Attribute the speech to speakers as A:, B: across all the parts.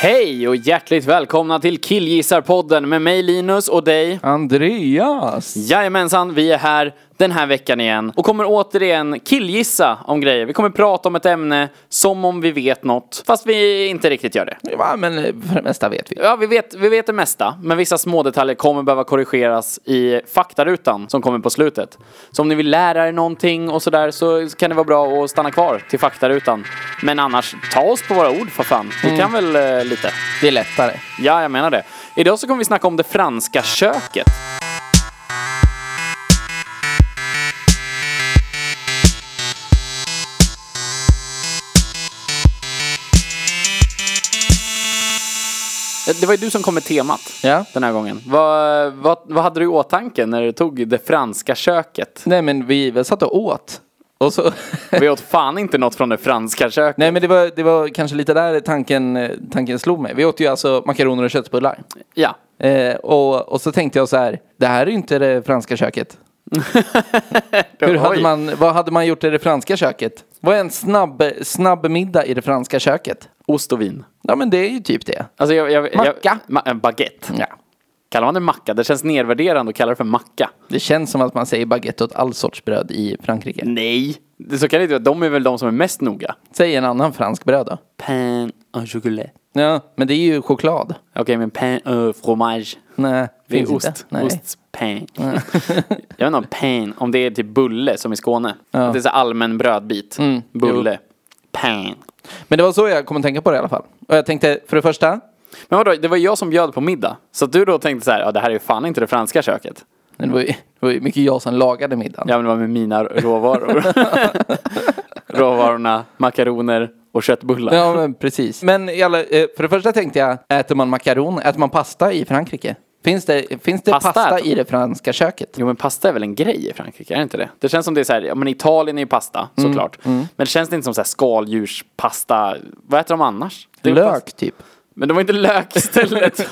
A: Hej och hjärtligt välkomna till Killgissarpodden med mig Linus och dig.
B: Andreas!
A: Jajamensan, vi är här den här veckan igen och kommer återigen killgissa om grejer. Vi kommer prata om ett ämne som om vi vet något, fast vi inte riktigt gör det.
B: Ja, men eh, för det mesta vet vi.
A: Ja, vi vet, vi vet det mesta, men vissa små detaljer kommer behöva korrigeras i faktarutan som kommer på slutet. Så om ni vill lära er någonting och sådär så kan det vara bra att stanna kvar till faktarutan. Men annars, ta oss på våra ord för fan. Vi kan väl eh, lite.
B: Det är lättare.
A: Ja, jag menar det. Idag så kommer vi snacka om det franska köket. Eh, Det var ju du som kom med temat
B: Ja.
A: den här gången. Vad, vad, vad hade du i åtanke när du tog det franska köket?
B: Nej men vi, vi satt och åt. Och så...
A: Vi åt fan inte något från det franska köket.
B: Nej men det var, det var kanske lite där tanken, eh, tanken slog mig. Vi åt ju alltså makaroner och köttbullar.
A: Ja.
B: Eh, och, och så tänkte jag så här, det här är ju inte det franska köket. Hur hade
A: Oj.
B: man, vad hade man gjort i det franska köket? Vad är en snabb, snabb middag i det franska köket?
A: Ost och vin.
B: Ja men det är ju typ det.
A: Alltså jag, jag,
B: Macka.
A: Jag, ma- en baguette.
B: Ja.
A: Kallar man det macka? Det känns nedvärderande att kalla det för macka.
B: Det känns som att man säger baguette åt all sorts bröd i Frankrike.
A: Nej. Det, så kan det inte vara. De är väl de som är mest noga.
B: Säg en annan fransk bröd då.
A: Pain au chocolat.
B: Ja, men det är ju choklad.
A: Okej, men pain au fromage.
B: Nej,
A: Det
B: finns
A: är ost.
B: Inte. Nej.
A: Ostpain. jag vet inte om pain, om det är typ bulle som i Skåne. Att Det är så allmän brödbit. Bulle. Pain.
B: Men det var så jag kom att tänka på det i alla fall. Och jag tänkte, för det första,
A: Men vadå, det var ju jag som bjöd på middag. Så att du då tänkte så här, ja det här är ju fan inte det franska köket.
B: det var ju, det var ju mycket jag som lagade middagen.
A: Ja men det var med mina råvaror. Råvarorna, makaroner och köttbullar.
B: Ja, men precis. Men i alla, eh, för det första tänkte jag, äter man makaron, äter man pasta i Frankrike? Finns det, finns det pasta,
A: Pasta äter-
B: i det franska köket?
A: Jo men pasta är väl en grej i Frankrike, är det inte det? Det känns som det är så här, ja men Italien är ju pasta
B: Mm,
A: såklart. Men det känns det inte som så här skaldjurspasta, vad äter de annars? Det är ju pasta.
B: Lök typ.
A: Men det var inte lök istället.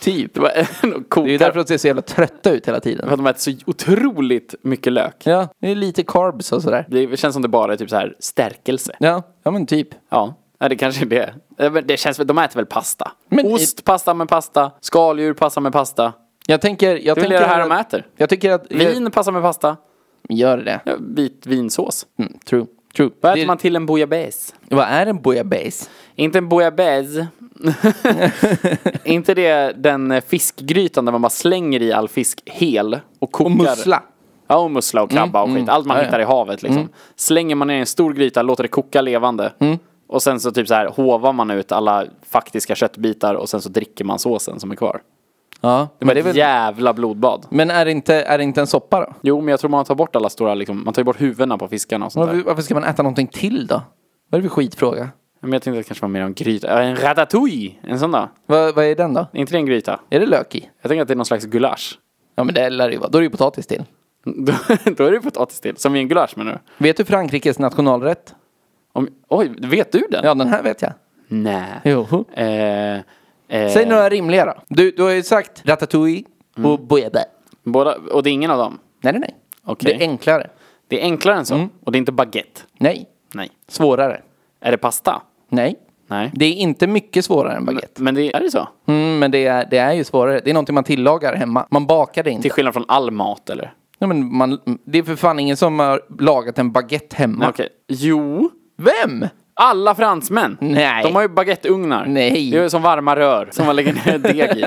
B: typ.
A: Det var en kokar.
B: Det är ju därför att de ser så jävla trötta ut hela
A: För
B: tiden.
A: att de äter så otroligt mycket lök.
B: Ja, det är lite carbs och sådär.
A: Det känns som det bara är typ så här stärkelse.
B: Ja, ja men typ.
A: Ja, ja det kanske är det. Ja, men Det känns väl, de äter väl pasta?
B: Men
A: Ost, pasta med pasta. Skaldjur, pasta med pasta.
B: Jag tänker... Jag
A: Det är väl
B: tänker
A: det här de äter.
B: Jag tycker att...
A: Vin, pasta med pasta.
B: Gör det.
A: Ja, Vit vinsås.
B: Mm, true. True.
A: Vad
B: Det-
A: äter man till en bouillabaisse?
B: Vad är en bouillabaisse?
A: Inte en bouillabaisse. inte det den fiskgrytan där man bara slänger i all fisk hel och kokar.
B: Och mussla.
A: Ja, och mussla och krabba och skit. Allt
B: Mm, Ja, Mm.
A: man
B: ja.
A: hittar i havet liksom. Slänger man ner i en stor gryta, låter det koka levande.
B: Mm.
A: Och sen så typ så här hovar man ut alla faktiska köttbitar och sen så dricker man såsen som är kvar.
B: Ja,
A: Det
B: men,
A: var
B: det är
A: ett
B: väl...
A: jävla blodbad.
B: men är, det inte, är det inte en soppa då?
A: Jo, men jag tror man tar bort alla stora, liksom, man tar ju bort huvudena på fiskarna och sånt där.
B: Varför, varför ska man äta någonting till då? Vad är det för skitfråga?
A: Men jag tänkte att det kanske var mer om gryta. Ja, En ratatouille, en sån där.
B: Vad, vad är den då?
A: Är inte det en gryta?
B: Är det lök i?
A: Jag tänker att det är någon slags gulasch.
B: Ja men det lär det ju vara. Då är det ju potatis till.
A: Då, då är det ju potatis till, som i en gulasch menar du?
B: Vet du Frankrikes nationalrätt?
A: Om, oj, vet du den?
B: Ja den här vet jag.
A: Nej.
B: Jo.
A: Eh, eh, Mm.
B: Säg några rimliga då. Du, du har ju sagt ratatouille och bouillabaisse.
A: Båda, och det är ingen av dem?
B: Nej nej nej.
A: Okej.
B: Det är enklare.
A: Det är enklare än så.
B: Mm.
A: Och det är inte baguette.
B: Nej.
A: Nej.
B: Svårare.
A: Är det pasta?
B: Nej.
A: Nej.
B: Det är inte mycket svårare än baguette.
A: Men det, är det så?
B: Mm, men det är, det är ju svårare. Det är någonting man tillagar hemma. Man bakar det inte.
A: Till skillnad från all mat eller?
B: Nej, men man, det är för fan ingen som har lagat en baguette hemma.
A: Okej. Jo.
B: Vem?
A: Alla fransmän!
B: Nej.
A: De har ju baguetteugnar.
B: Nej.
A: Det är ju som varma rör som man lägger ner deg i.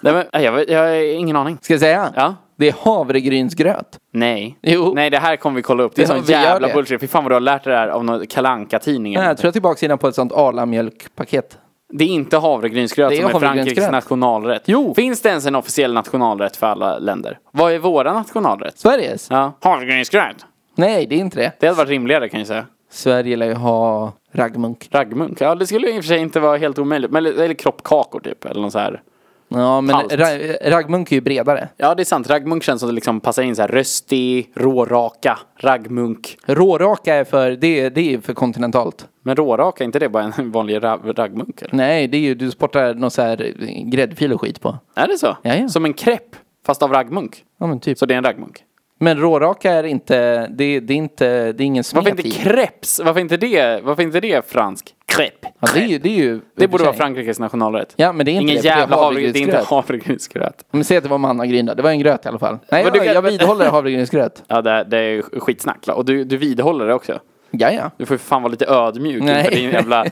A: Nej men, nej, jag, vet- jag har ingen aning.
B: Ska jag säga?
A: Ja.
B: Det är havregrynsgröt.
A: Nej.
B: Jo.
A: Nej det här kommer vi kolla upp. Det är
B: Ja,
A: sån
B: vi gör
A: jävla
B: det.
A: bullshit. Fy fan vad du har lärt dig det här av någon kalanka tidning
B: Nej, jag tror jag tillbaka innan på ett sånt Arla-mjölkpaket.
A: Det är inte havregrynsgröt
B: Det är
A: som är Frankrikes
B: havregrynsgröt.
A: nationalrätt.
B: Jo.
A: Finns det ens en officiell nationalrätt för alla länder? Vad är våra nationalrätt?
B: Sveriges?
A: Ja. Havregrynsgröt.
B: Nej, det är inte det.
A: Det hade varit rimligare kan jag säga.
B: Sverige lär ju ha raggmunk.
A: Raggmunk, ja det skulle ju i och för sig inte vara helt omöjligt. Men, eller kroppkakor typ, eller något så här.
B: Ja, men
A: Halt.
B: ra- raggmunk är ju bredare.
A: Ja det är sant, raggmunk känns som det liksom passar in så här röstig, råraka, raggmunk.
B: Råraka är för, det, är- det är ju för kontinentalt.
A: Men råraka, är inte det bara en vanlig ra- raggmunk eller?
B: Nej, det är ju, du sportar någon så här gräddfil och skit på.
A: Är det så?
B: Ja, ja.
A: Som en krepp, fast av raggmunk.
B: Ja, men typ.
A: Så det är en raggmunk.
B: Men råraka är inte, det, det är inte, det är ingen
A: Varför
B: smet
A: inte
B: i.
A: crepes? Varför inte det, varför inte det fransk? Crepe.
B: Ja, det är ju, det är ju
A: Det borde vara Frankrikes nationalrätt.
B: Ja, men det är inte
A: Ingen
B: det, för det är
A: jävla havregryn, det är inte
B: havregrynsgröt.
A: havregrynsgröt.
B: Men säg att det var mannagryn då, det var en gröt i alla fall. Nej,
A: Men
B: jag,
A: du kan-
B: jag vidhåller havregrynsgröt.
A: Ja, det, det är ju skitsnack. Och du, du vidhåller det också.
B: Ja, ja.
A: Du får ju fan vara lite ödmjuk
B: Nej.
A: inför din jävla,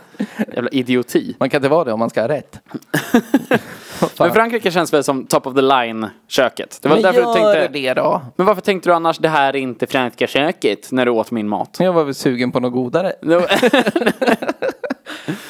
A: jävla idioti.
B: Man kan inte vara det om man ska ha rätt.
A: Men Frankrike känns väl som top of the line-köket. Det var
B: Men
A: därför du
B: gör
A: tänkte...
B: det då.
A: Men varför tänkte du annars det här är inte franska köket när du åt min mat?
B: Jag var väl sugen på något godare.
A: Du,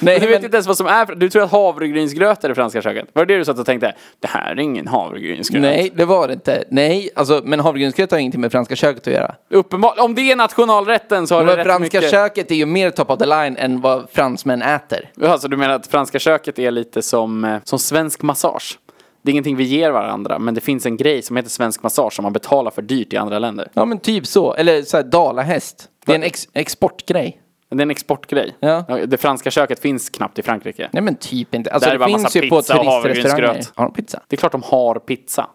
B: Nej,
A: du vet
B: men-
A: inte ens vad som är... Du tror att havregrynsgröt är det franska köket. Var det det du satt och tänkte? Det här är ingen havregrynsgröt.
B: Nej, det var det inte. Nej, alltså, men havregrynsgröt har ingenting med franska köket att göra.
A: Uppenbar- om det är nationalrätten så har det
B: Men
A: rätt
B: franska
A: mycket...
B: köket är ju mer top of the line än vad fransmän äter.
A: Alltså du menar att franska köket är lite som, eh, som svensk massage? Det är ingenting vi ger varandra, men det finns en grej som heter svensk massage som man betalar för dyrt i andra länder.
B: Ja, men typ så. Eller så här dalahäst. Det är en ex- exportgrej.
A: Det är en exportgrej.
B: Ja.
A: Det franska köket finns knappt i Frankrike.
B: Nej, men typ inte. Alltså,
A: Där är
B: det
A: bara
B: finns
A: massa
B: ju på
A: pizza och
B: turistrestauranger.
A: havregrynsgröt.
B: Har de pizza?
A: Det är klart de har pizza.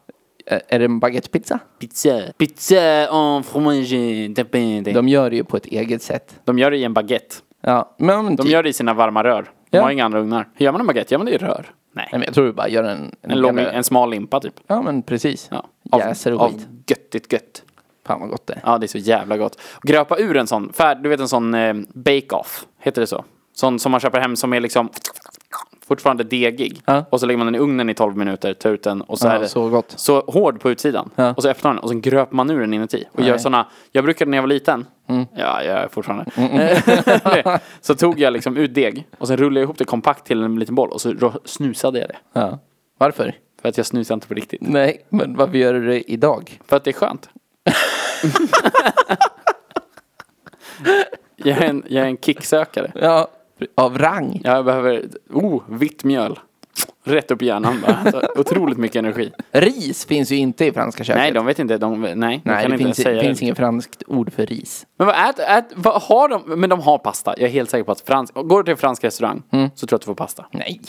B: Eh, Är det en baguettepizza?
A: Pizza. Pizza en fromage. de pain.
B: De gör det ju på ett eget sätt.
A: De gör det i en baguette.
B: Ja, men, ja, men
A: De
B: typ.
A: gör det i sina varma rör. De
B: Ja.
A: har inga andra ugnar. Hur gör man en baguette? Gör man det i rör?
B: Nej,
A: Nej.
B: men jag tror du bara gör en...
A: En, lång, en smal limpa typ.
B: Ja, men precis.
A: Ja.
B: Jäser och
A: av
B: skit.
A: göttigt gött.
B: Fan vad gott det är.
A: Ja, det är så jävla gott. Gröpa ur en sån, fär, du vet en sån eh, bake-off, heter det så? Sån som man köper hem som är liksom fortfarande degig.
B: Ja.
A: Och så lägger man den i ugnen i 12 minuter, tar ut den och så
B: Ja,
A: är det
B: så gott.
A: så hård på utsidan.
B: Ja.
A: Och så öppnar man den och så gröper man ur den inuti. Och gör
B: Nej. Mm.
A: såna, jag brukade när jag var liten, ja jag är fortfarande, så tog jag liksom ut deg och sen rullade jag ihop det kompakt till en liten boll och så rå- snusade jag det.
B: Ja. Varför?
A: För att jag snusar inte på riktigt.
B: Nej, men varför gör du det idag?
A: För att det är skönt. jag, är en, jag är en kicksökare.
B: Ja, av rang.
A: Jag behöver, oh, vitt mjöl. Rätt upp i hjärnan bara. Så otroligt mycket energi.
B: Ris finns ju inte i franska köket.
A: Nej, de vet inte. De, nej, de
B: Nej,
A: kan
B: det
A: inte
B: finns,
A: säga
B: det finns
A: det.
B: inget franskt ord för ris.
A: Men vad, ät, ät, vad har de? Men de har pasta. Jag är helt säker på att fransk, går du till en fransk restaurang
B: Mm.
A: så tror jag att du får pasta.
B: Nej,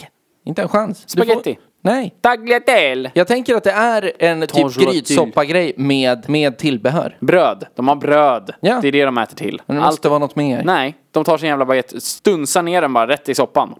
B: inte en chans. Du
A: Spaghetti.
B: Får... Nej.
A: Tagliatelle!
B: Jag tänker att det är en typ
A: Tangerotil.
B: grytsoppa-grej med, med tillbehör.
A: Bröd. De har bröd.
B: Ja.
A: Det är det de äter till.
B: Men det
A: Allt
B: måste vara något mer.
A: Nej, de tar sin jävla baguette, stunsar ner den bara rätt i soppan.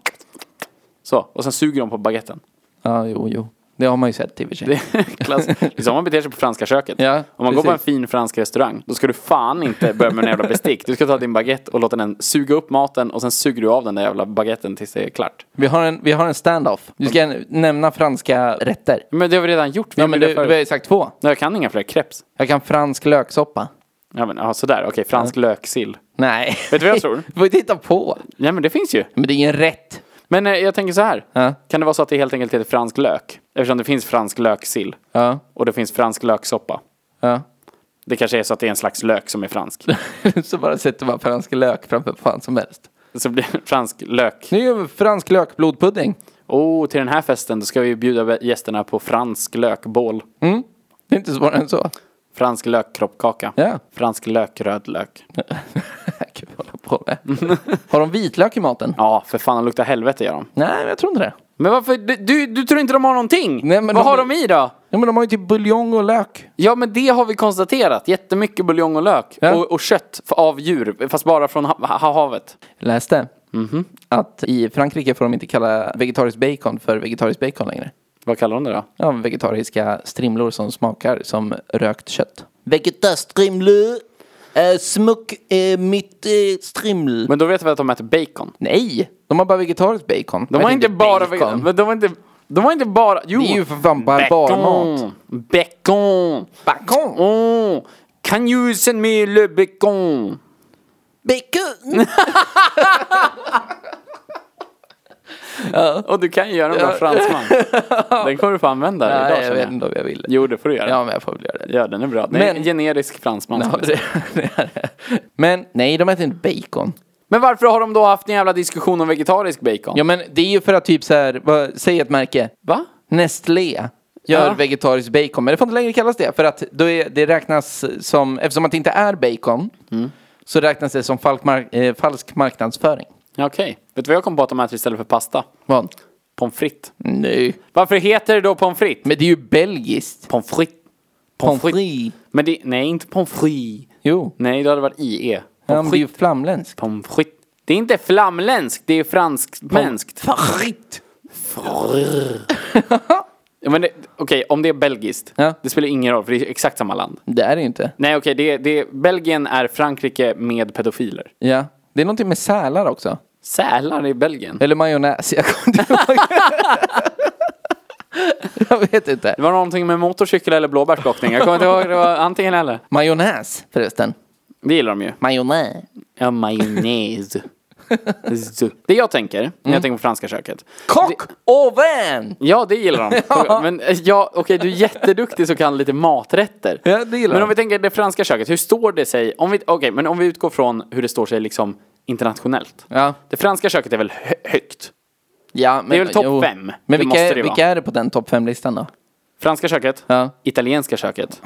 A: Så, och sen suger de på baguetten.
B: Ja, jo, jo. Det har man ju sett i och för sig.
A: Det är klass. Det är så man beter sig på franska köket.
B: Ja,
A: Om man går på en
B: precis.
A: fin fransk restaurang, då ska du fan inte börja med en jävla bestick. Du ska ta din baguette och låta den suga upp maten och sen suger du av den där jävla baguetten tills det är klart.
B: Vi har en, vi har en stand-off. Du ska nämna franska rätter.
A: Men det har vi redan gjort. Vi
B: Ja,
A: gjorde
B: men
A: det
B: du, du
A: förut.
B: har ju sagt två.
A: Nej, Jag kan inga fler crepes.
B: Jag kan fransk löksoppa.
A: Ja, men, ja, sådär. Okej, fransk löksill.
B: Nej.
A: Vet du vad jag tror?
B: Du får ju titta på.
A: Nej, men det finns ju.
B: Men det är ingen rätt.
A: Men eh, jag tänker så här.
B: Ja.
A: Kan det vara så att det helt enkelt heter fransk lök? Eftersom det finns fransk löksill.
B: Ja.
A: Och det finns fransk löksoppa.
B: Ja.
A: Det kanske är så att det är en slags lök som är fransk.
B: Så bara sätter man fransk lök framför fan som helst.
A: Så blir det fransk lök.
B: Nu gör vi fransk lökblodpudding.
A: Oh, till den här festen då ska vi bjuda gästerna på fransk lökbål.
B: Det är inte svårare än så.
A: Fransk lökkroppkaka.
B: Ja.
A: Fransk lök, röd lök.
B: Gud, vad håller på med. Har de vitlök i maten?
A: Ja, för fan de luktar helvete gör de.
B: Nej, men jag tror inte det.
A: Men varför? Du, du, du tror inte de har någonting?
B: Nej, men
A: Vad
B: de-
A: har de i då?
B: Ja, men de har ju typ buljong och lök.
A: Ja, men det har vi konstaterat. Jättemycket buljong och lök.
B: Ja.
A: Och, och kött f- av djur, fast bara från ha- ha- havet.
B: Jag läste att i Frankrike får de inte kalla vegetariskt bacon för vegetariskt bacon längre.
A: Vad kallar de det då?
B: Ja, vegetariska strimlor som smakar som rökt kött. Vegetastrimlor! Eh, smuck eh, mitt eh, striml.
A: Men då vet vi att de äter bacon.
B: Nej, de har bara vegetariskt bacon.
A: De har inte bara
B: bacon.
A: vegan, men de har inte... De har inte bara... Jo!
B: Det är ju för fan barbarmat.
A: Bacon!
B: Bacon!
A: Oh, can you send me le bacon?
B: Bacon!
A: Och du kan ju göra en bra fransman. Den kommer du få använda idag
B: Nej, jag
A: känner
B: vet
A: jag.
B: inte om jag vill.
A: Jo, det får du göra.
B: Ja, men jag får väl göra det.
A: Ja, den är bra. Det är
B: Men-
A: en generisk fransman.
B: Ja,
A: som-
B: det, det är det. Men nej, de äter inte bacon.
A: Men varför har de då haft en jävla diskussion om vegetarisk bacon?
B: Ja, men det är ju för att typ så här, vad, säg ett märke.
A: Va?
B: Nestlé gör
A: Ja.
B: vegetarisk bacon, men det får inte längre kallas det. För att då är, det räknas som, eftersom att det inte är bacon, så räknas det som falk mark, eh, falsk marknadsföring.
A: Ja, Okej. Vet du vad jag kom på att de äter istället för pasta?
B: Vad?
A: Pommes frites.
B: Nej.
A: Varför heter det då pommes frites?
B: Men det är ju belgiskt.
A: Pommes frites.
B: Pommes frites.
A: Men det, nej, inte pommes frites.
B: Jo.
A: Nej, då hade det varit IE.
B: Ja, men
A: Pommes
B: det är ju
A: frites.
B: flamländskt.
A: Pommes frites. Det är inte flamländskt, det är franskmännskt.
B: Frites.
A: Ja, men det- Okej, om det är belgiskt.
B: Ja.
A: Det spelar ingen roll, för det är exakt samma land.
B: Det är det ju inte.
A: Nej, okej, det, det, Belgien är Frankrike med pedofiler.
B: Ja. Det är någonting med sälar också.
A: Sälar i Belgien.
B: Eller majonnäs, jag kommer inte ihåg. jag vet inte.
A: Det var någonting med motorcykel eller blåbärsblockning. Jag kommer inte ihåg, det var antingen eller.
B: Majonnäs förresten.
A: Det gillar de ju.
B: Majonnäs.
A: Ja, majonnäs. Z. Det jag tänker, när
B: Mm.
A: jag tänker på franska köket.
B: Kock och vän!
A: Ja, det gillar de. Men eh, ja, okej, du är jätteduktig som kan lite maträtter.
B: Ja, det gillar
A: Men om
B: de.
A: vi tänker det franska köket, hur står det sig? Om vi, okej, men om vi utgår från hur det står sig liksom internationellt.
B: Ja.
A: Det franska köket är väl hö- högt?
B: Ja, men,
A: Det är väl topp
B: jo.
A: fem? Det
B: Men vilka,
A: måste det
B: är,
A: ju vara.
B: vilka är det på den topp fem-listan då?
A: Franska köket?
B: Ja.
A: Italienska köket?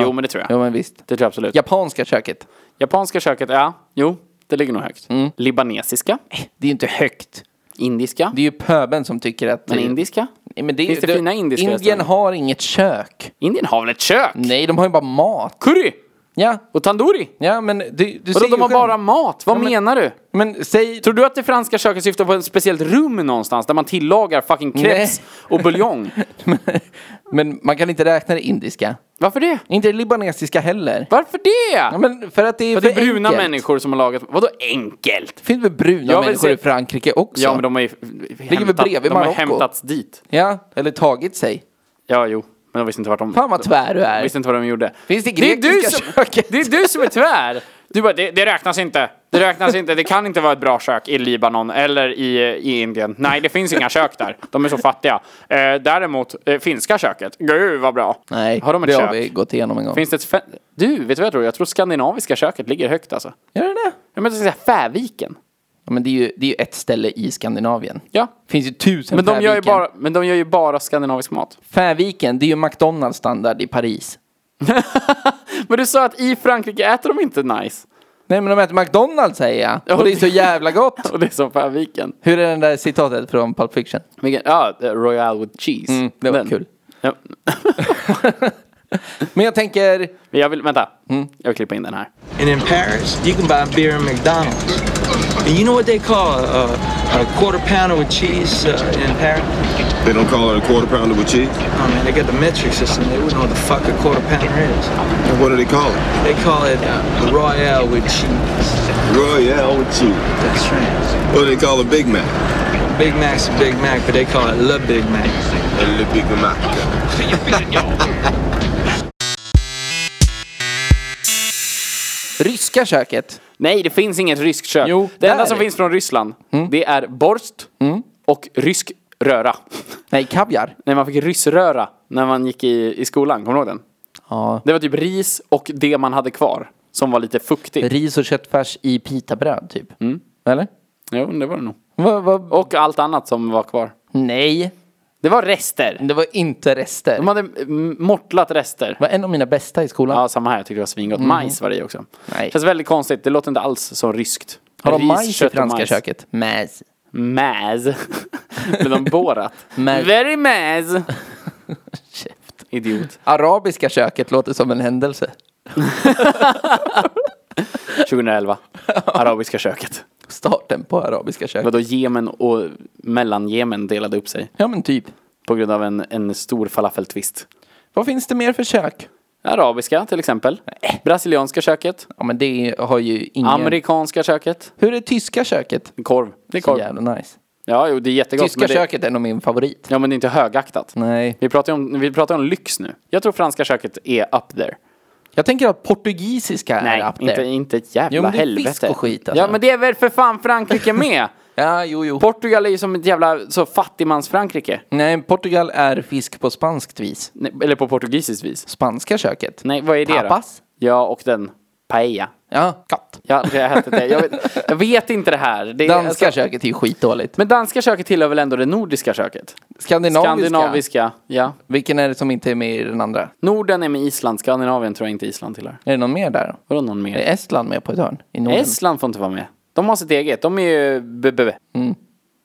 A: Jo, men det tror jag.
B: Jo, men visst.
A: Det tror jag absolut.
B: Japanska köket.
A: Japanska köket, ja. Jo, det ligger nog högt.
B: Mm.
A: Libanesiska?
B: Det är ju inte högt.
A: Indiska?
B: Det är ju pöben som tycker att...
A: Men indiska?
B: Nej, men det är,
A: Finns det
B: du-
A: fina indiska
B: Indien
A: restauranger?
B: har inget kök.
A: Indien har väl ett kök?
B: Nej, de har ju bara mat.
A: Curry?
B: Ja,
A: Och tandoori?
B: ja men du, du ser
A: Vadå,
B: ju
A: de har
B: själv.
A: bara mat? Vad menar du?
B: Men säg...
A: Tror du att det franska köket syftar på ett speciellt rum någonstans där man tillagar fucking crepes
B: Nej.
A: och buljong?
B: men man kan inte räkna det indiska.
A: Varför det?
B: Inte det libanesiska heller.
A: Varför det?
B: Ja, men för att det är
A: för det är
B: för
A: bruna
B: enkelt.
A: människor som har lagat... Vadå enkelt?
B: Det finns väl bruna
A: Ja, men
B: människor
A: se-
B: i Frankrike också?
A: Ja, men de har ju
B: väl
A: hämtat-
B: bredvid
A: de har
B: Marocko.
A: hämtats dit.
B: Ja, eller tagit sig.
A: Ja, jo. Men de visste inte vart de...
B: Fan vad tvär du är.
A: visste inte vad de gjorde.
B: Finns det
A: är du
B: grekiska
A: som,
B: köket?
A: Det är du som är tvär! Du bara, det, det räknas inte. Det räknas inte. Det kan inte vara ett bra kök i Libanon eller i, i Indien. Nej, det finns inga kök där. De är så fattiga. Eh, däremot, eh, finska köket. Gud vad bra.
B: Nej,
A: har de ett
B: det
A: kök?
B: har vi gått igenom en gång.
A: Finns det ett... Fe- du, vet du vad jag tror? Jag tror skandinaviska köket ligger högt alltså.
B: Gör det det?
A: Jag menar, säga Färviken.
B: Ja, men det är, ju, det är ju ett ställe i Skandinavien.
A: Ja.
B: Finns ju tusen
A: Men de, gör ju
B: Färviken.
A: bara, men de gör ju bara skandinavisk mat.
B: Färviken, det är ju McDonalds standard i Paris.
A: Men du sa att i Frankrike äter de inte nice.
B: Nej men de äter McDonalds säger jag. Och det är så jävla gott.
A: Och det är som Färviken.
B: Hur är den där citatet från Pulp Fiction?
A: Vilken, ja, eh, Royal with cheese.
B: Mm, det var
A: Den.
B: kul.
A: Ja.
B: Men jag tänker,
A: Men jag vill, vänta.
B: Mm.
A: Jag vill klippa in den här.
C: And in Paris, you can buy beer at McDonald's. And you know what they call a, a quarter pounder with cheese uh, in Paris?
D: They don't call it a quarter pounder with cheese.
C: Oh man, they got the metric system. They wouldn't know what the fuck a quarter pounder is.
D: What do they call it?
C: They call it uh, Royale with cheese.
D: Royale with cheese.
C: That's right.
D: What do they call a Big Mac?
C: Big Mac's a Big Mac, but they call it Le Big Mac.
D: A little Big Mac.
B: ryska köket.
A: Nej, det finns inget ryskt kök.
B: Jo,
A: det
B: där
A: enda
B: är det.
A: som
B: Mm.
A: finns från Ryssland, det är borst och rysk röra.
B: Nej, kaviar.
A: Nej, man fick ryssröra när man gick i, i skolan. Kommer du ihåg den?
B: Ja.
A: Det var typ ris och det man hade kvar som var lite fuktigt.
B: Ris och köttfärs i pitabröd typ. Eller?
A: Jo, det var det nog.
B: Vad- vad-
A: Och allt annat som var kvar.
B: Nej,
A: Det var rester.
B: det var inte rester.
A: De hade mm, mortlat rester.
B: Det var en av mina bästa i skolan.
A: Ja, samma här. Jag tyckte det var svingott. Majs var det i också.
B: Mhm. Nej.
A: Känns väldigt konstigt. Det låter inte alls som ryskt.
B: Har de
A: Ris,
B: majs i
A: kött och
B: franska
A: majs.
B: köket? Majs.
A: Maz. Blev de borat?
B: Maz.
A: Very maz. Idiot.
B: Arabiska köket låter som en händelse.
A: 2011. Arabiska köket.
B: Starten på arabiska köket.
A: Vadå Jemen och Mellanjemen delade upp sig
B: Ja men typ.
A: på grund av en, en stor falafeltvist.
B: Vad finns det mer för kök?
A: Arabiska till exempel.
B: Äh.
A: Brasilianska köket.
B: Ja men det har ju ingen...
A: Amerikanska köket.
B: Hur är tyska köket?
A: Korv. Det är
B: Så
A: korv.
B: jävla nice.
A: Ja, jo, det är jättegott.
B: Tyska
A: men det,
B: köket är nog min favorit.
A: Ja, men det är inte högaktat.
B: Nej.
A: Vi pratar, ju om, vi pratar om lyx nu. Jag tror franska köket är up there.
B: Jag tänker att portugisiska
A: Nej,
B: är up
A: inte,
B: there.
A: inte ett jävla
B: Jo, men det är
A: helvete.
B: fisk och skit, alltså.
A: Ja men det är väl för fan Frankrike med?
B: Ja, jo, jo.
A: Portugal är ju som ett jävla så fattigmans-Frankrike.
B: Nej, Portugal är fisk på spanskt vis.
A: Nej, Eller på portugisiskt vis.
B: Spanska köket.
A: Nej, vad är det
B: Tapas?
A: då? Ja, och den. Paella.
B: Ja, katt.
A: Jag har aldrig ätit det. Jag vet, jag vet inte det här. Det är,
B: Danska
A: alltså-
B: köket är ju skitdåligt.
A: Men danska köket tillhör väl ändå det nordiska köket?
B: Skandinaviska.
A: Skandinaviska, ja.
B: Vilken är det som inte är med i den andra?
A: Norden är med Island, Skandinavien tror jag inte Island tillhör.
B: Är det någon mer där? då?
A: Vadå någon mer?
B: Är Estland med på ett hörn? I Norden?
A: Estland får inte vara med. De har sitt eget. De är ju... b- b- b-
B: Mm.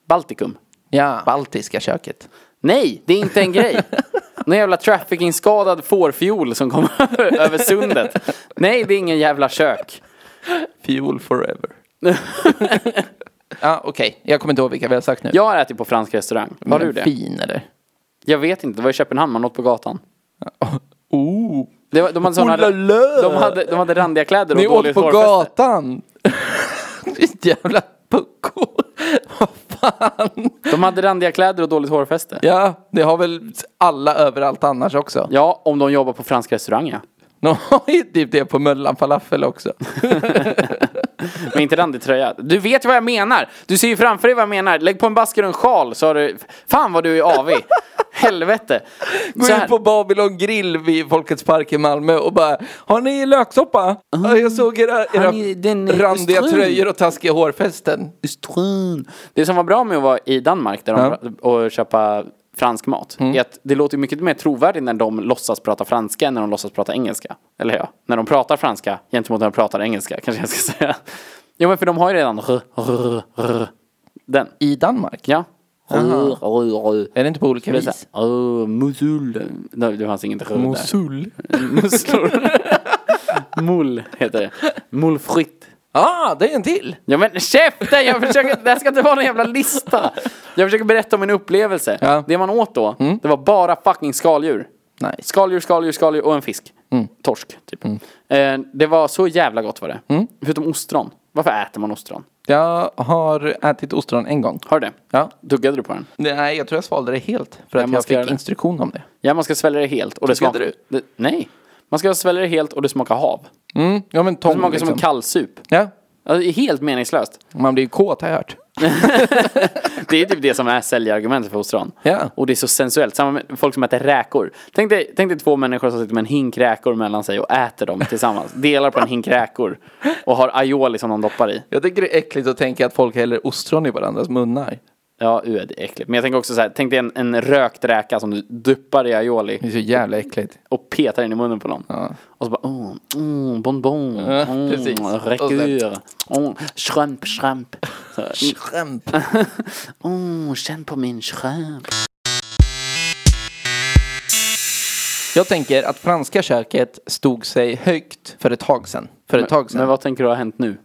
A: Baltikum.
B: ja. Baltiska köket.
A: Nej, det är inte en grej. Någon jävla trafficking-skadad fårfiol som kommer över sundet. Nej, det är ingen jävla kök.
B: Fuel forever. ja, Ah, okej. Jag kommer inte ihåg vilka vi har sagt nu.
A: Jag har ätit på fransk restaurang. Har du det?
B: Fin eller?
A: Jag vet inte. Det var i Köpenhamn. Man åt på gatan.
B: Oh.
A: Det var, de, hade såna,
B: Oh la la!
A: de, hade, de hade randiga kläder och
B: Ni åt
A: dåligt
B: på
A: hårfäste.
B: gatan! Ditt jävla pucko. Vad fan.
A: De hade randiga kläder och dåligt hårfäste. Ja.
B: Ja, det har väl alla överallt annars också.
A: om de jobbar på fransk restaurang ja.
B: De har ju typ det på Möllan falafel också.
A: Men inte randig tröja. Du vet vad jag menar! Du ser ju framför dig vad jag menar. Lägg på en basker och en sjal så har du... Fan vad du är avig! Helvete!
B: Gå
A: Så här-
B: ut på Babylon grill vid Folkets park i Malmö och bara Har ni löksoppa? Ja, Jag såg era, era
A: Han är- den är
B: randiga
A: strul.
B: tröjor och taskiga hårfästen.
A: Strön. Det som var bra med att vara i Danmark där de, och köpa fransk mat
B: Mm.
A: är att det låter mycket mer trovärdigt när de låtsas prata franska än när de låtsas prata engelska. Eller ja, när de pratar franska gentemot när de pratar engelska kanske jag ska säga. Ja men för de har ju redan r, r, r, den.
B: I Danmark?
A: Ja. R, r, r.
B: Är det inte på olika
A: Det är så
B: vis?
A: här, "Åh, Mosul. Nej, Det fanns inget r där.
B: Mosul?
A: Musslor. Mull heter det. Mull fritt.
B: Ja, ah, det är en till!
A: Ja men käften! Jag försöker, det här ska inte vara någon jävla lista. Jag försöker berätta om min upplevelse.
B: Ja. Mm.
A: Det man åt då, det var bara fucking skaldjur.
B: Nice. Mm.
A: Skaldjur, skaldjur, skaldjur och en fisk. Torsk, typ. Eh, det var så jävla gott var det.
B: Mm.
A: Förutom ostron. Varför äter man ostron?
B: Jag har ätit ostron en gång.
A: Har du det?
B: Ja.
A: Duggade du på den?
B: Nej, jag tror jag svalde det helt. För att
A: man
B: jag
A: ska göra
B: fick
A: det.
B: instruktion om det.
A: Ja, man ska svälja det helt och det
B: Duggade
A: smakar...
B: du?
A: Det, nej. Man ska svälja det helt och det smakar hav.
B: Mm, ja men
A: Det
B: tång
A: smakar
B: liksom.
A: som en kallsup.
B: Ja,
A: Alltså, det är helt meningslöst.
B: man blir ju kåt har jag hört.
A: Det är typ det som är säljargumentet för ostron.
B: Ja.
A: Och det är så sensuellt. Samma med folk som äter räkor. Tänk dig, tänk dig två människor som sitter med en hink räkor mellan sig och äter dem tillsammans. Delar på en hink räkor. Och har aioli som de doppar i.
B: Jag tycker det är äckligt att tänka att folk häller ostron i varandras munnar.
A: Ja, uh, det är äckligt. Men jag tänker också så här, tänk dig en, en rökt räka som du duppar i
B: Det är
A: aioli
B: så jävla äckligt.
A: och petar in i munnen på någon. Och så bara, oh, mm, bonbon,
B: Ja,
A: mm,
B: precis. Och sen-
A: räkor, mm, shrimp, shrimp. Så,
B: Skämt.
A: mm, känn på min shrimp.
B: Jag tänker att franska köket stod sig högt för ett tag sedan. För ett tag sedan.
A: Men vad tänker du har hänt nu?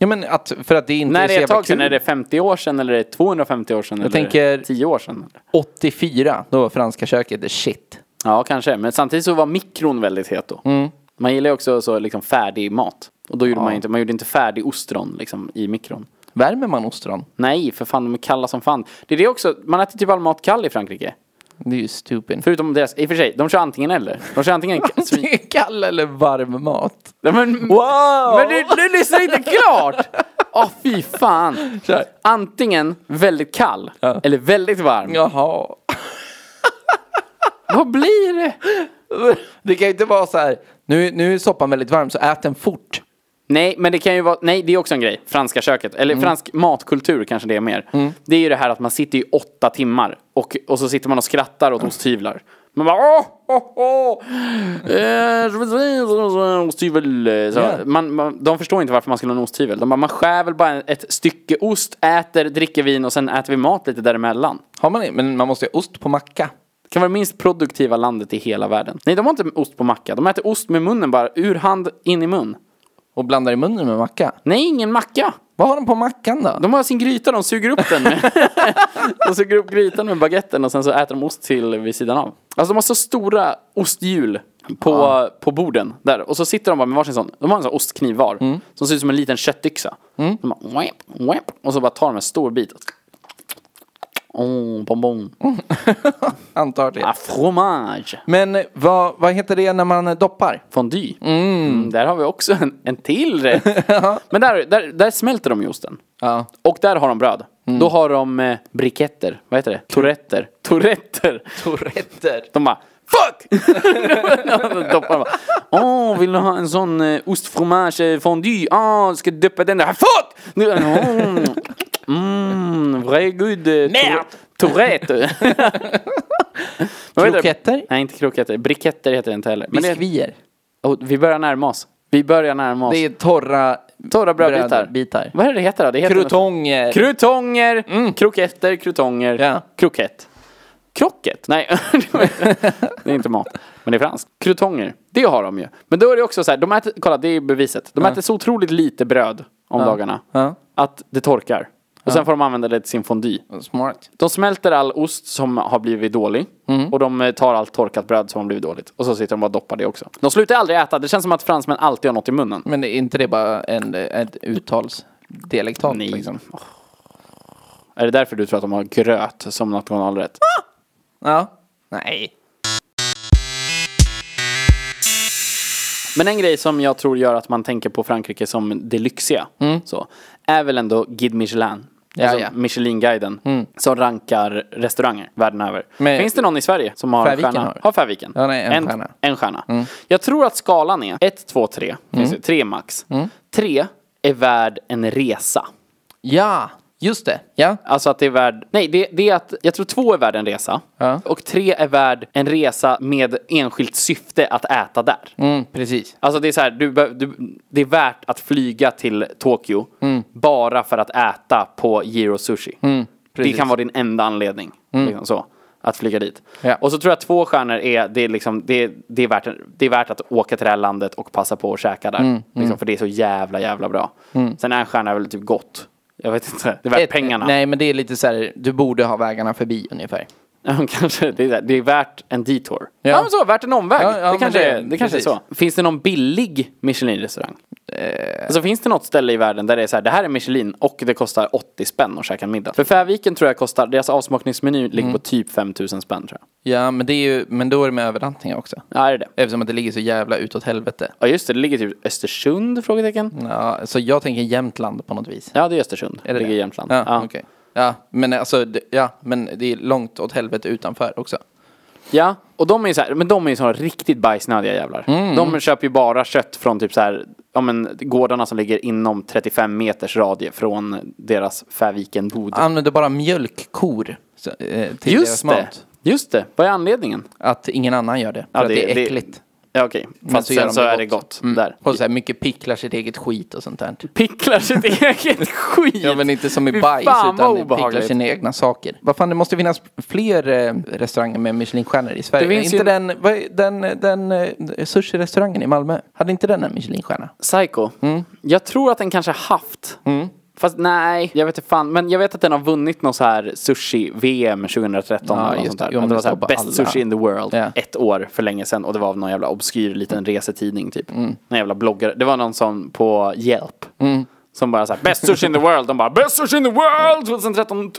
B: Ja men att, för att det inte
A: När
B: är
A: det
B: så
A: är ett
B: jävla
A: tag sedan,
B: kul.
A: är det 50 år sedan eller är det 250 år sedan? eller
B: tänker-
A: 10 år sedan?
B: 84, då var franska köket the shit.
A: Ja, kanske. Men samtidigt så var mikron väldigt het då.
B: Mm.
A: Man gillar ju också så liksom färdig mat. Och då gjorde man ju inte, man gjorde inte färdig ostron liksom i mikron.
B: Värmer man ostron?
A: Nej, för fan, de är kalla som fan. Det är det också, man äter typ all mat kall i Frankrike.
B: Det är ju stupid.
A: Förutom deras, i och för sig, de kör antingen eller. De kör antingen...
B: Det är Kall eller varm mat?
A: Ja, men,
B: Wow!
A: Men du, du lyssnar inte klart! Åh fy fan.
B: Kör.
A: Antingen väldigt kall
B: Ja.
A: eller väldigt varm.
B: Jaha.
A: Vad blir det?
B: Det kan ju inte vara så här, nu, nu är soppan väldigt varm så ät den fort.
A: Nej, men det kan ju vara, nej det är också en grej, franska köket, eller fransk matkultur kanske det är mer. Det är ju det här att man sitter i åtta timmar och, och så sitter man och skrattar åt osthyvlar. Man bara åh, åh, åh. Eh, så- så- så- Osthyvel. Så,
B: Ja.
A: man, man, de förstår inte varför man skulle ha en osthyvel. De bara, man skär väl bara ett stycke ost, äter, dricker vin och sen äter vi mat lite däremellan.
B: Har man det? Men man måste ju ha ost på macka.
A: Det kan vara det minst produktiva landet i hela världen. Nej, de har inte ost på macka. De äter ost med munnen bara, ur hand, in i mun.
B: Och blandar i munnen med macka.
A: Nej, ingen macka.
B: Vad har de på mackan då?
A: De har sin gryta, de suger upp den. Med, de suger upp grytan med baguetten och sen så äter de ost till vid sidan av. Alltså de har så stora osthjul på, på borden där. Och så sitter de bara med varsin sån. De har en sån ostkniv var. Som ser ut som en liten köttyxa. De bara, wep, wep, och så bara tar de en stor bit. Oh, bonbon.
B: Antagligen.
A: Ah, fromage.
B: Men eh, vad, vad heter det när man eh, doppar?
A: Fondue. Mm, där har vi också en, en till rätt. Men där, där, där smälter de ju osten.
B: Ja. Mm.
A: Och där har de bröd. Då har de eh, briketter. Vad heter det? Touretter. Touretter.
B: Toretter.
A: De bara Fuck! Dopparna bara Åh, vill du ha en sån eh, ostfromage eh, fondue? Ah, ska doppa den där. Fuck! Nu- Mm, mm, very good. eh,
B: Merde!
A: Tourette. Vad heter det?
B: Kroketter?
A: Nej, inte kroketter. Briketter heter det inte heller. Men det,
B: Biskvier.
A: Åh, vi börjar närma oss. Vi börjar närma oss.
B: Det är torra...
A: Torra brödbitar.
B: Bitar.
A: Vad är det det heter då? Det heter
B: Krutonger. Mm.
A: Krutonger! Kroketter, krutonger,
B: Ja.
A: krokett. Krocket? Nej, det är inte mat. Men det är franskt. Krutonger, det har de ju. Men då är det också så här, de äter, kolla det är beviset. De äter så otroligt lite bröd om dagarna.
B: Ja.
A: Att det torkar. Och sen får de använda det till sin fondue.
B: Smart.
A: De smälter all ost som har blivit dålig.
B: Mm.
A: Och de eh, tar allt torkat bröd som har blivit dåligt. Och så sitter de bara och doppar det också. De slutar aldrig äta. Det känns som att fransmän alltid har något i munnen.
B: Men är inte det bara en, ett uttals... Dialektalt
A: Nej.
B: liksom?
A: Är det därför du tror att de har gröt som nationalrätt?
B: Ja. Nej.
A: Men en grej som jag tror gör att man tänker på Frankrike som det lyxiga så, är väl ändå Guide Michelin.
B: Mm. Ja,
A: alltså
B: ja. Mm.
A: Michelin-guiden som rankar restauranger världen över.
B: Men-
A: Finns det någon i Sverige som har
B: Färviken
A: en stjärna?
B: har.
A: Har Färviken?
B: Ja, nej, en stjärna. Mm.
A: En stjärna. Jag tror att skalan är 1, 2, 3. Finns det, 3 max.
B: Mm.
A: 3 är värd en resa.
B: Ja, just det. Ja.
A: Alltså att det är värd, nej det, det är att, jag tror två är värd en resa.
B: Ja.
A: Och tre är värd en resa med enskilt syfte att äta där.
B: Mm, precis.
A: Alltså det är så här, du, be- du, det är värt att flyga till Tokyo
B: Mm.
A: bara för att äta på Giro Sushi. det
B: precis. Mm.
A: kan vara din enda anledning. Liksom så, att flyga dit.
B: Ja.
A: Och så tror jag att två stjärnor är, det är, liksom, det, är- det, är värt, det är värt att åka till det här landet och passa på att käka
B: Mm,
A: där. Liksom, För det är så jävla, jävla bra. Sen är en stjärna väl typ gott. Jag vet inte, det är värt
B: Ett-
A: pengarna.
B: Nej, men det är lite så här, du borde ha vägarna förbi ungefär.
A: Ja, men kanske. Det är, där. det är värt en detour. Ja,
B: Ja.
A: men så, värt en omväg.
B: Ja, ja,
A: det
B: men
A: kanske,
B: det-
A: är, det kanske är så.
B: precis.
A: Finns det någon billig Michelin-restaurang?
B: Eh.
A: Alltså finns det något ställe i världen där det är så här, det här är Michelin och det kostar 80 spänn att käka en middag? För Färviken tror jag kostar, deras avsmakningsmeny ligger på typ 5000 spänn tror jag.
B: Ja, men, det är ju, men då är det med övernattningar också.
A: Ja, är det det?
B: Eftersom att det ligger så jävla utåt helvete.
A: Ja, just det, det ligger typ Östersund? Frågetecken.
B: Ja, så jag tänker Jämtland på något vis.
A: Mm. Ja, det är Östersund.
B: Är det
A: ligger i
B: det?
A: Jämtland.
B: Ja, okej. Ja, men alltså, det- ja, men det är långt åt helvete utanför också.
A: Ja, och de är så här, men de är ju såna riktigt bajsnödiga jävlar.
B: Mm.
A: De köper ju bara kött från typ så här, ja men gårdarna som ligger inom 35 meters radie från deras Färvikenbod.
B: Använder bara mjölkkor så, eh, till deras
A: Just det!
B: mat.
A: Just det, vad är anledningen?
B: Att ingen annan gör det. För
A: Ja,
B: att det är äckligt.
A: Ja okej, fast
B: så gör
A: sen
B: de
A: så
B: det
A: är det
B: gott. Mm.
A: gott där.
B: Och så här, mycket picklar sitt eget skit och sånt där.
A: Picklar sitt eget skit!
B: Ja men inte som
A: Fy
B: i bajs
A: fan, vad
B: utan picklar
A: obehagligt.
B: sina egna saker. Vad fan det måste finnas fler eh, restauranger med Michelinstjärnor i Sverige.
A: Det finns
B: inte
A: ju-
B: den, vad är- den, den eh, sushi-restaurangen i Malmö, hade inte den en Michelinstjärna?
A: Psycho.
B: Mm.
A: Jag tror att den kanske haft. Fast nej, jag vet inte fan. Men jag vet att den har vunnit någon så här sushi-VM 2013
B: Ja,
A: eller något
B: just
A: sånt
B: det.
A: där.
B: Jo,
A: att
B: men
A: det var
B: det
A: så här
B: står på
A: best
B: alla.
A: sushi in the world
B: Ja.
A: ett år för länge sedan. Och det var av någon jävla obskyr liten resetidning typ.
B: Mm.
A: Någon jävla bloggare. Det var någon som på Yelp. Som bara såhär, best sushi in the world. De bara, best sushi in the world 2013.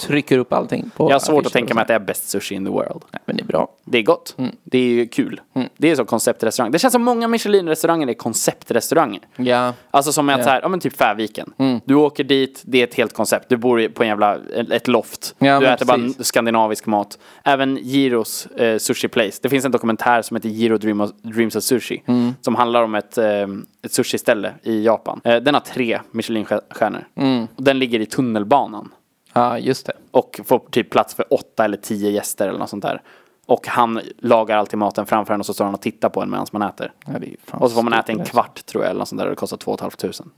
B: Trycker upp allting på
A: Jag har svårt
B: affischer
A: att tänka mig
B: och
A: att det är best sushi in the world.
B: sånt. Men det är bra.
A: Det är gott.
B: Mm.
A: Det är ju kul. Det är så konceptrestaurang. Det känns som många Michelin-restauranger är konceptrestauranger.
B: Ja. Mm.
A: Alltså som att så här, ja men typ Färviken. Du åker dit, det är ett helt koncept. Du bor i- på en jävla, ett loft.
B: Ja,
A: du
B: men
A: äter bara
B: precis.
A: n- skandinavisk mat. Även Giros eh, Sushi Place. Det finns en dokumentär som heter Giro Dream of, Dreams of Sushi.
B: Mm.
A: Som handlar om ett, eh, ett sushiställe i Japan. Eh, den har tre Michelin-stjärnor.
B: Mm.
A: Och den ligger i tunnelbanan.
B: Ja, just det.
A: Och får typ plats för åtta eller tio gäster eller något sånt där. Och han lagar alltid maten framför en och så står han och tittar på en medan man äter.
B: Ja, det är ju fan
A: och så får man äta en
B: stupid.
A: kvart tror jag eller något sånt där och det kostar två och ett halvt tusen.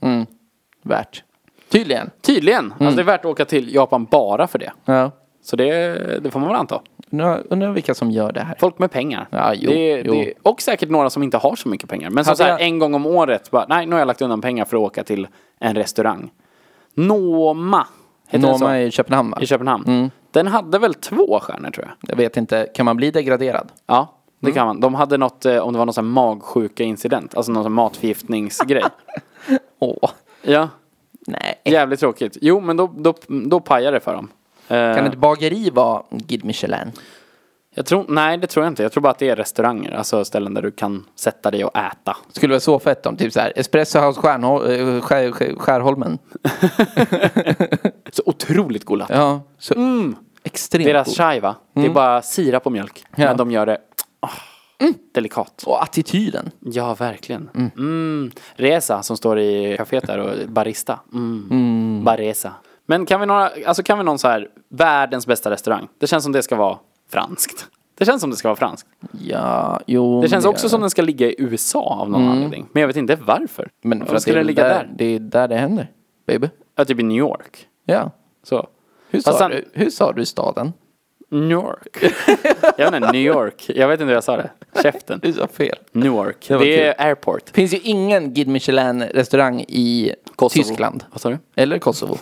B: Värt. Tydligen.
A: Tydligen.
B: Mm.
A: Alltså det är värt att åka till Japan bara för det.
B: Ja.
A: Så det, det får man väl anta.
B: Undrar, undrar vilka som gör det här.
A: Folk med pengar.
B: Ja, jo,
A: det,
B: jo.
A: Det, och säkert några som inte har så mycket pengar. Men som
B: Hade
A: så här,
B: jag-
A: en gång om året, bara, nej nu har jag lagt undan pengar för att åka till en restaurang. Noma, heter den så?
B: Noma i Mm. Köpenhamn va?
A: I Köpenhamn. Den hade väl två stjärnor tror jag.
B: Jag vet inte, kan man bli degraderad?
A: Ja, det
B: Mm.
A: kan man. De hade något, eh, om det var någon sån här magsjuka incident, alltså någon sån matförgiftningsgrej.
B: Åh,
A: ja,
B: nej.
A: jävligt tråkigt. Jo, men då, då, då pajade det för dem. Eh,
B: Kan ett bageri vara Guide Michelin?
A: jag tror, nej, det tror jag inte. Jag tror bara att det är restauranger, alltså ställen där du kan sätta dig och äta.
B: Skulle vara så fett om typ så här Espresso House Stjärnho- eh, Skär, Skär, Skärholmen.
A: Så otroligt god latte.
B: Ja, så extremt
A: Deras
B: god.
A: chai va? Det är bara sirap på mjölk.
B: Ja. Mm.
A: Men de gör det ah, delikat.
B: Och attityden.
A: Ja, verkligen. Mm. Resa som står i kaféet där och barista. Mm. Baresa. Men kan vi, några, alltså kan vi någon så här, världens bästa restaurang? Det känns som det ska vara franskt. Det känns som det ska vara franskt.
B: Ja, jo.
A: Det
B: men
A: känns också som den ska ligga i USA av någon anledning. Men jag vet inte varför.
B: Mm. Men för
A: varför
B: att det
A: skulle
B: är
A: den ligga
B: där,
A: där?
B: Det är där det händer, baby.
A: Ja, typ i New York.
B: Ja.
A: Så.
B: Hur sa,
A: Fast han-
B: du, hur sa du staden?
A: New York. jag vet inte, New York. Jag vet inte hur jag sa det. Käften.
B: Du sa fel.
A: Newark. Det,
B: var
A: är airport.
B: finns ju ingen Guide Michelin-restaurang i
A: Kosovo.
B: Tyskland.
A: Vad sa du?
B: Eller Kosovo.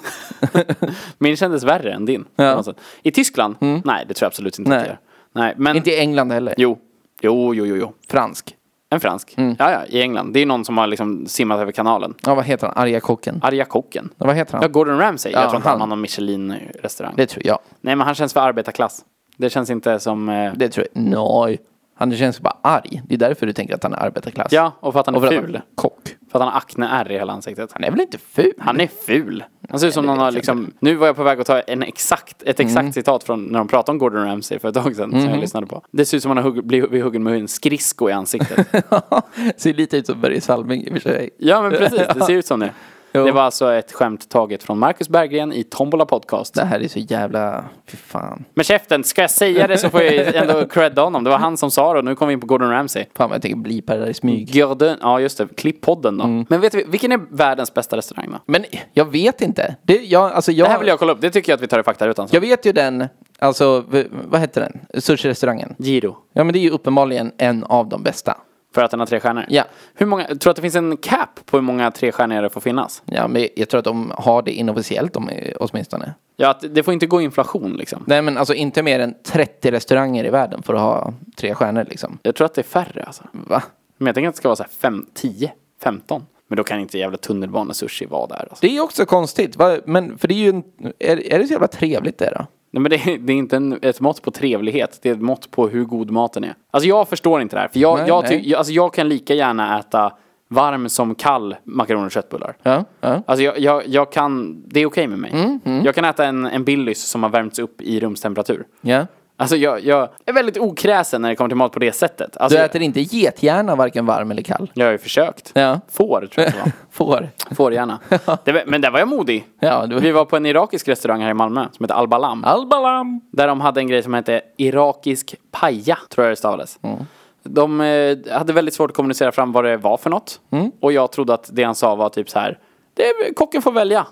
A: Min kändes värre än din. på något sätt. I Tyskland? Nej, det tror jag absolut inte. att
B: Mm. Nej.
A: det gör. Nej, men...
B: Inte i England heller.
A: Jo. Jo, jo, jo, jo.
B: Fransk.
A: En fransk.
B: Mm.
A: Ja, ja, i England. Det är någon som har liksom simmat över kanalen.
B: Ja, vad heter han? Arga kocken.
A: Arga kocken.
B: Ja, vad heter han?
A: Ja, Gordon Ramsay.
B: Ja,
A: jag tror inte
B: han.
A: han har någon Michelin-restaurang.
B: Det tror jag.
A: Nej, men han känns för arbetarklass. Det känns inte som... Eh...
B: Det tror jag. Nej. Han känns bara arg. Det är därför du tänker att han är arbetarklass.
A: Ja, och för att han är
B: och för att
A: ful.
B: han är kock.
A: För att han har akne-ärr i hela ansiktet.
B: Han är väl inte ful?
A: Han är ful. Han ser ut som någon har liksom, nu var jag på väg att ta en exakt, ett exakt citat från när de pratade om Gordon Ramsay för ett tag sedan som jag lyssnade på. Det ser ut som han har hugg, blivit blivit huggen med en skrisko i ansiktet.
B: Ser lite ut som Börje Salming i och för sig.
A: ja men precis, det ser ut som det.
B: Jo.
A: Det var alltså ett skämt taget från Marcus Berggren i Tombola Podcast.
B: Det här är så jävla... Fy fan.
A: Men käften, ska jag säga det så får jag ändå credda honom. Det var han som sa det och nu kommer vi in på Gordon Ramsay.
B: Fan vad jag tänker bli på det där i smyg.
A: Gordon, ja just det, klipppodden då. Men vet vi, vilken är världens bästa restaurang då?
B: Men jag vet inte. Det, jag, alltså jag,
A: Det här vill jag kolla upp, det tycker jag att vi tar i faktarutan.
B: jag vet ju den, alltså v- vad heter den? Sushi-restaurangen.
A: Giro.
B: Ja men det är ju uppenbarligen en av de bästa.
A: För att den har tre stjärnor?
B: Ja.
A: Hur många, tror du att det finns en cap på hur många trestjärniga det får finnas?
B: Ja men jag tror att de har det inofficiellt om, åtminstone.
A: Ja, att det får inte gå inflation liksom.
B: Nej men alltså inte mer än 30 restauranger i världen för att ha tre stjärnor liksom.
A: Jag tror att det är färre alltså.
B: Va?
A: Men jag tänker att det ska vara så här fem, 10, 15. Men då kan inte jävla tunnelbanesushi vara där. Alltså.
B: Det är ju också konstigt. Va? Men för det är ju, en, är, är det så jävla trevligt det då?
A: Nej, men det, är- det är inte en, ett mått på trevlighet, det är ett mått på hur god maten är. Alltså jag förstår inte det här, för jag,
B: Nej,
A: jag,
B: nej.
A: ty, jag, alltså, jag kan lika gärna äta varm som kall makaroner och köttbullar.
B: Ja, ja. Mm,
A: Alltså jag, jag, jag kan, det är okej med mig. Jag kan äta en, en Billys som har värmts upp i rumstemperatur.
B: ja.
A: Alltså jag, jag är väldigt okräsen när det kommer till mat på det sättet.
B: Du
A: Alltså,
B: äter inte gethjärna varken varm eller kall?
A: Jag har ju försökt.
B: Ja.
A: Får tror jag det var.
B: Får?
A: Fårhjärna. Det var- Men där var jag modig.
B: Ja, du-
A: Vi var på en irakisk restaurang här i Malmö som heter Al-Balam.
B: Albalam!
A: Där de hade en grej som hette irakisk paja, tror jag det stavades.
B: Mm.
A: De eh, hade väldigt svårt att kommunicera fram vad det var för något.
B: Mm.
A: Och jag trodde att det han sa var typ så här, det är, kocken får välja.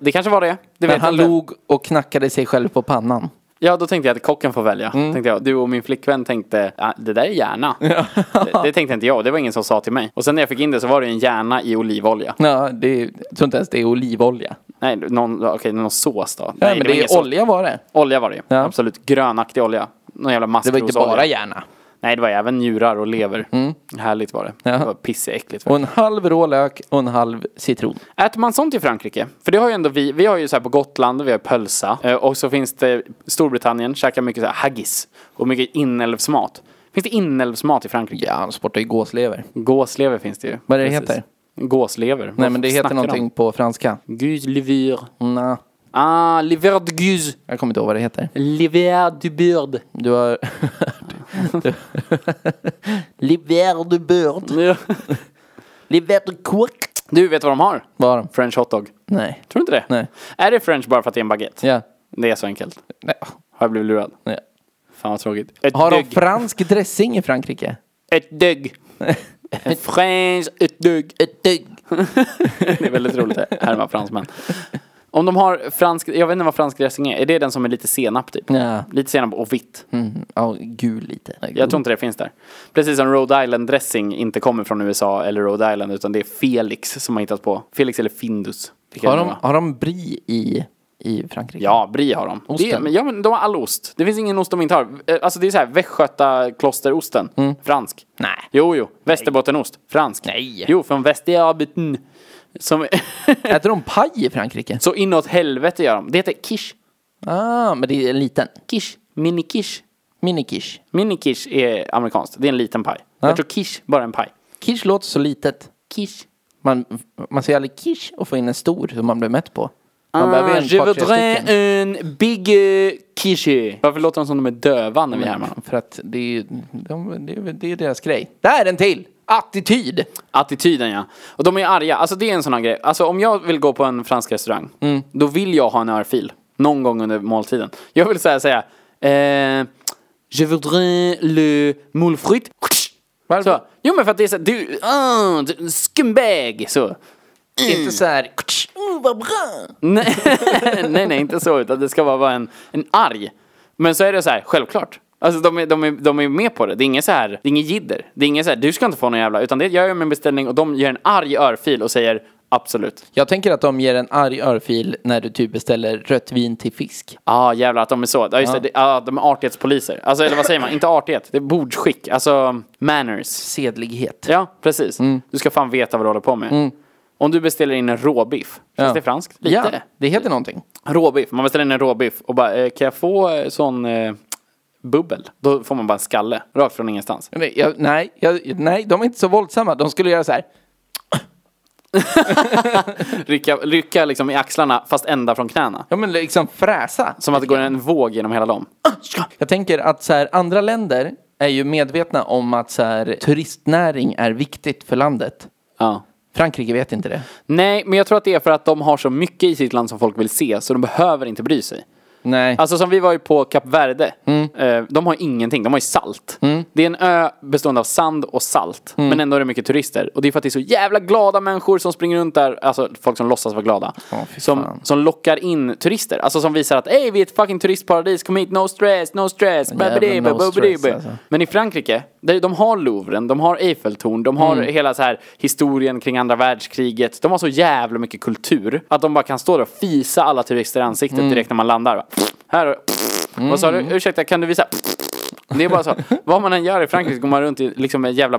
A: Det kanske var det. det
B: Mm. Men
A: vet jag
B: han
A: inte.
B: log och knackade sig själv på pannan.
A: Ja, då tänkte jag att kocken får välja.
B: Mm.
A: Tänkte jag. Du och min flickvän tänkte, ah, det där är hjärna. det, det tänkte inte jag, det var ingen som sa till mig. Och sen när jag fick in det så var det ju en hjärna i olivolja.
B: Ja, det är, jag tror inte ens det är olivolja.
A: Nej, någon, okej, någon sås då.
B: Nej, men
A: var
B: det
A: ingen
B: är
A: sås.
B: olja var det.
A: Olja var det ju.
B: Ja.
A: Absolut, grönaktig olja. Någon jävla
B: Det var inte
A: maskrosolja.
B: bara hjärna. Mm.
A: Nej, det var även njurar och lever. Härligt var det. Det var pissäckligt.
B: Och en halv rå lök och en halv citron.
A: Äter man sånt i Frankrike? För det har ju ändå vi, vi har ju så här på Gotland, vi har pölsa. Eh, Och så finns det Storbritannien, käkar mycket så här haggis. Och mycket inälvsmat. Finns det inälvsmat i Frankrike?
B: Ja, han sportar ju gåslever.
A: Gåslever finns det ju.
B: Vad är det heter?
A: Gåslever.
B: Nej, men det heter någonting på franska.
A: Guse liver.
B: Nja,
A: Ah, liver de guse.
B: jag kommer inte ihåg vad det heter.
A: Liver du bird.
B: Du har... Liver de bird. Liver de cook.
A: Du, vet vad de har?
B: Vad har de?
A: French hotdog.
B: Nej.
A: Tror du inte det?
B: Nej.
A: Är det french bara för att det är en baguette?
B: Ja.
A: Det är så enkelt.
B: Nej.
A: Har jag blivit lurad?
B: Nej.
A: Fan vad tråkigt. Ett
B: Har de
A: dugg.
B: fransk dressing i Frankrike?
A: Ett dugg. En French ett dugg.
B: eh,
A: Ett dugg. det är väldigt roligt att härma fransmän. Om de har fransk, jag vet inte vad fransk dressing är. Är det den som är lite senap typ?
B: Ja.
A: Lite senap och vitt.
B: Ja, gul lite.
A: Jag tror inte det finns där. Precis som Rhode Island dressing inte kommer från USA eller Rhode Island utan det är Felix som har hittat på. Felix eller Findus. Vilka
B: Har
A: det nu
B: de,
A: var.
B: har de brie i, i Frankrike?
A: Ja, brie har de.
B: Osten.
A: Det, men- ja, men de har all ost. Det finns ingen ost de inte har. Eh, Alltså det är så här, Västgöta klosterosten. Fransk.
B: Mm. Nej.
A: Jo, jo. Västerbottenost. Fransk.
B: Nej.
A: Jo, från Västerbotten. Som...
B: Äter de paj i Frankrike?
A: så inåt helvete gör de. Det heter quiche.
B: Ah, men det är en liten.
A: Quiche. Mini-quiche.
B: Minikish.
A: Mini-quiche är amerikanskt. Det är en liten paj. Jag tror quiche, bara en paj.
B: Kish låter så litet.
A: Quiche.
B: Man, man säger aldrig kish och får in en stor som man blir mätt på. Man behöver
A: Ah,
B: en
A: je
B: par, tre
A: voudrais
B: stycken.
A: en big eh, quiche. Mm. Varför låter de som de är döva när vi härmar dem?
B: För att det är ju de, det är, det är deras grej. Där, en till! Attityd!
A: Attityden ja. Och de är arga. Alltså det är en sån här grej. Alltså om jag vill gå på en fransk restaurang, då vill jag ha en örfil. Någon gång under måltiden. Jag vill säga, säga eh, Je voudrais le moule frite.
B: Varför?
A: Så. Jo men för att det är så här, du, ah, du scumbag! Så.
B: Inte så här... Mm, vad bra!
A: Nej, nej, nej, inte så. Utan det ska bara vara en, en arg. Men så är det så här, självklart. Alltså de är, de, är, de är med på det. Det är inget så här, det är inget jidder. Det är inget så här, du ska inte få någon jävla. Utan det jag gör min beställning och de ger en arg örfil och säger absolut.
B: Jag tänker att de ger en arg örfil när du typ beställer rött vin till fisk.
A: Ja, ah, jävlar att de är så. Ja, just det. Det- Ah, de är artighetspoliser. Alltså, eller vad säger man? Inte artighet, det är bordsskick. Alltså, manners.
B: Sedlighet.
A: Ja, precis.
B: Mm.
A: Du ska fan veta vad du håller på med. Om du beställer in en råbiff, känns det franskt? Lite.
B: Ja, det heter någonting.
A: Råbiff, man beställer in en råbiff och bara, eh, kan jag få eh, sån eh, bubbel? Då får man bara en skalle, rakt från ingenstans.
B: Nej, jag, nej, jag, nej, de är inte så våldsamma. De skulle göra så här.
A: Rycka, rycka liksom i axlarna, fast ända från knäna.
B: Ja, men liksom fräsa.
A: Som att det går en våg genom hela dem.
B: Jag tänker att så här, andra länder är ju medvetna om att så här, turistnäring är viktigt för landet.
A: Ja.
B: Frankrike vet inte det.
A: Nej, men jag tror att det är för att de har så mycket i sitt land som folk vill se, så de behöver inte bry sig.
B: Nej. Mm.
A: Alltså som vi var ju på Kap Verde. Eh, De har ingenting, de har ju salt. Det är en ö bestående av sand och salt.
B: Mm.
A: Men ändå är det mycket turister. Och det är för att det är så jävla glada människor som springer runt där. Alltså folk som låtsas vara glada.
B: fy
A: som,
B: fan.
A: som lockar in turister. Alltså som visar att ey vi är ett fucking turistparadis, kom hit, no stress, no stress. Babidi,
B: no
A: babidi,
B: stress, alltså.
A: Men i Frankrike, där de har Louvren, de har Eiffeltorn, de har
B: Mm.
A: hela så här historien kring andra världskriget. De har så jävla mycket kultur att de bara kan stå där och fisa alla turister i ansiktet
B: Mm.
A: direkt när man landar. Va? Här och... Vad sa du? Ursäkta, kan du visa? Det är bara så. Vad man än gör i Frankrike går man runt i liksom en jävla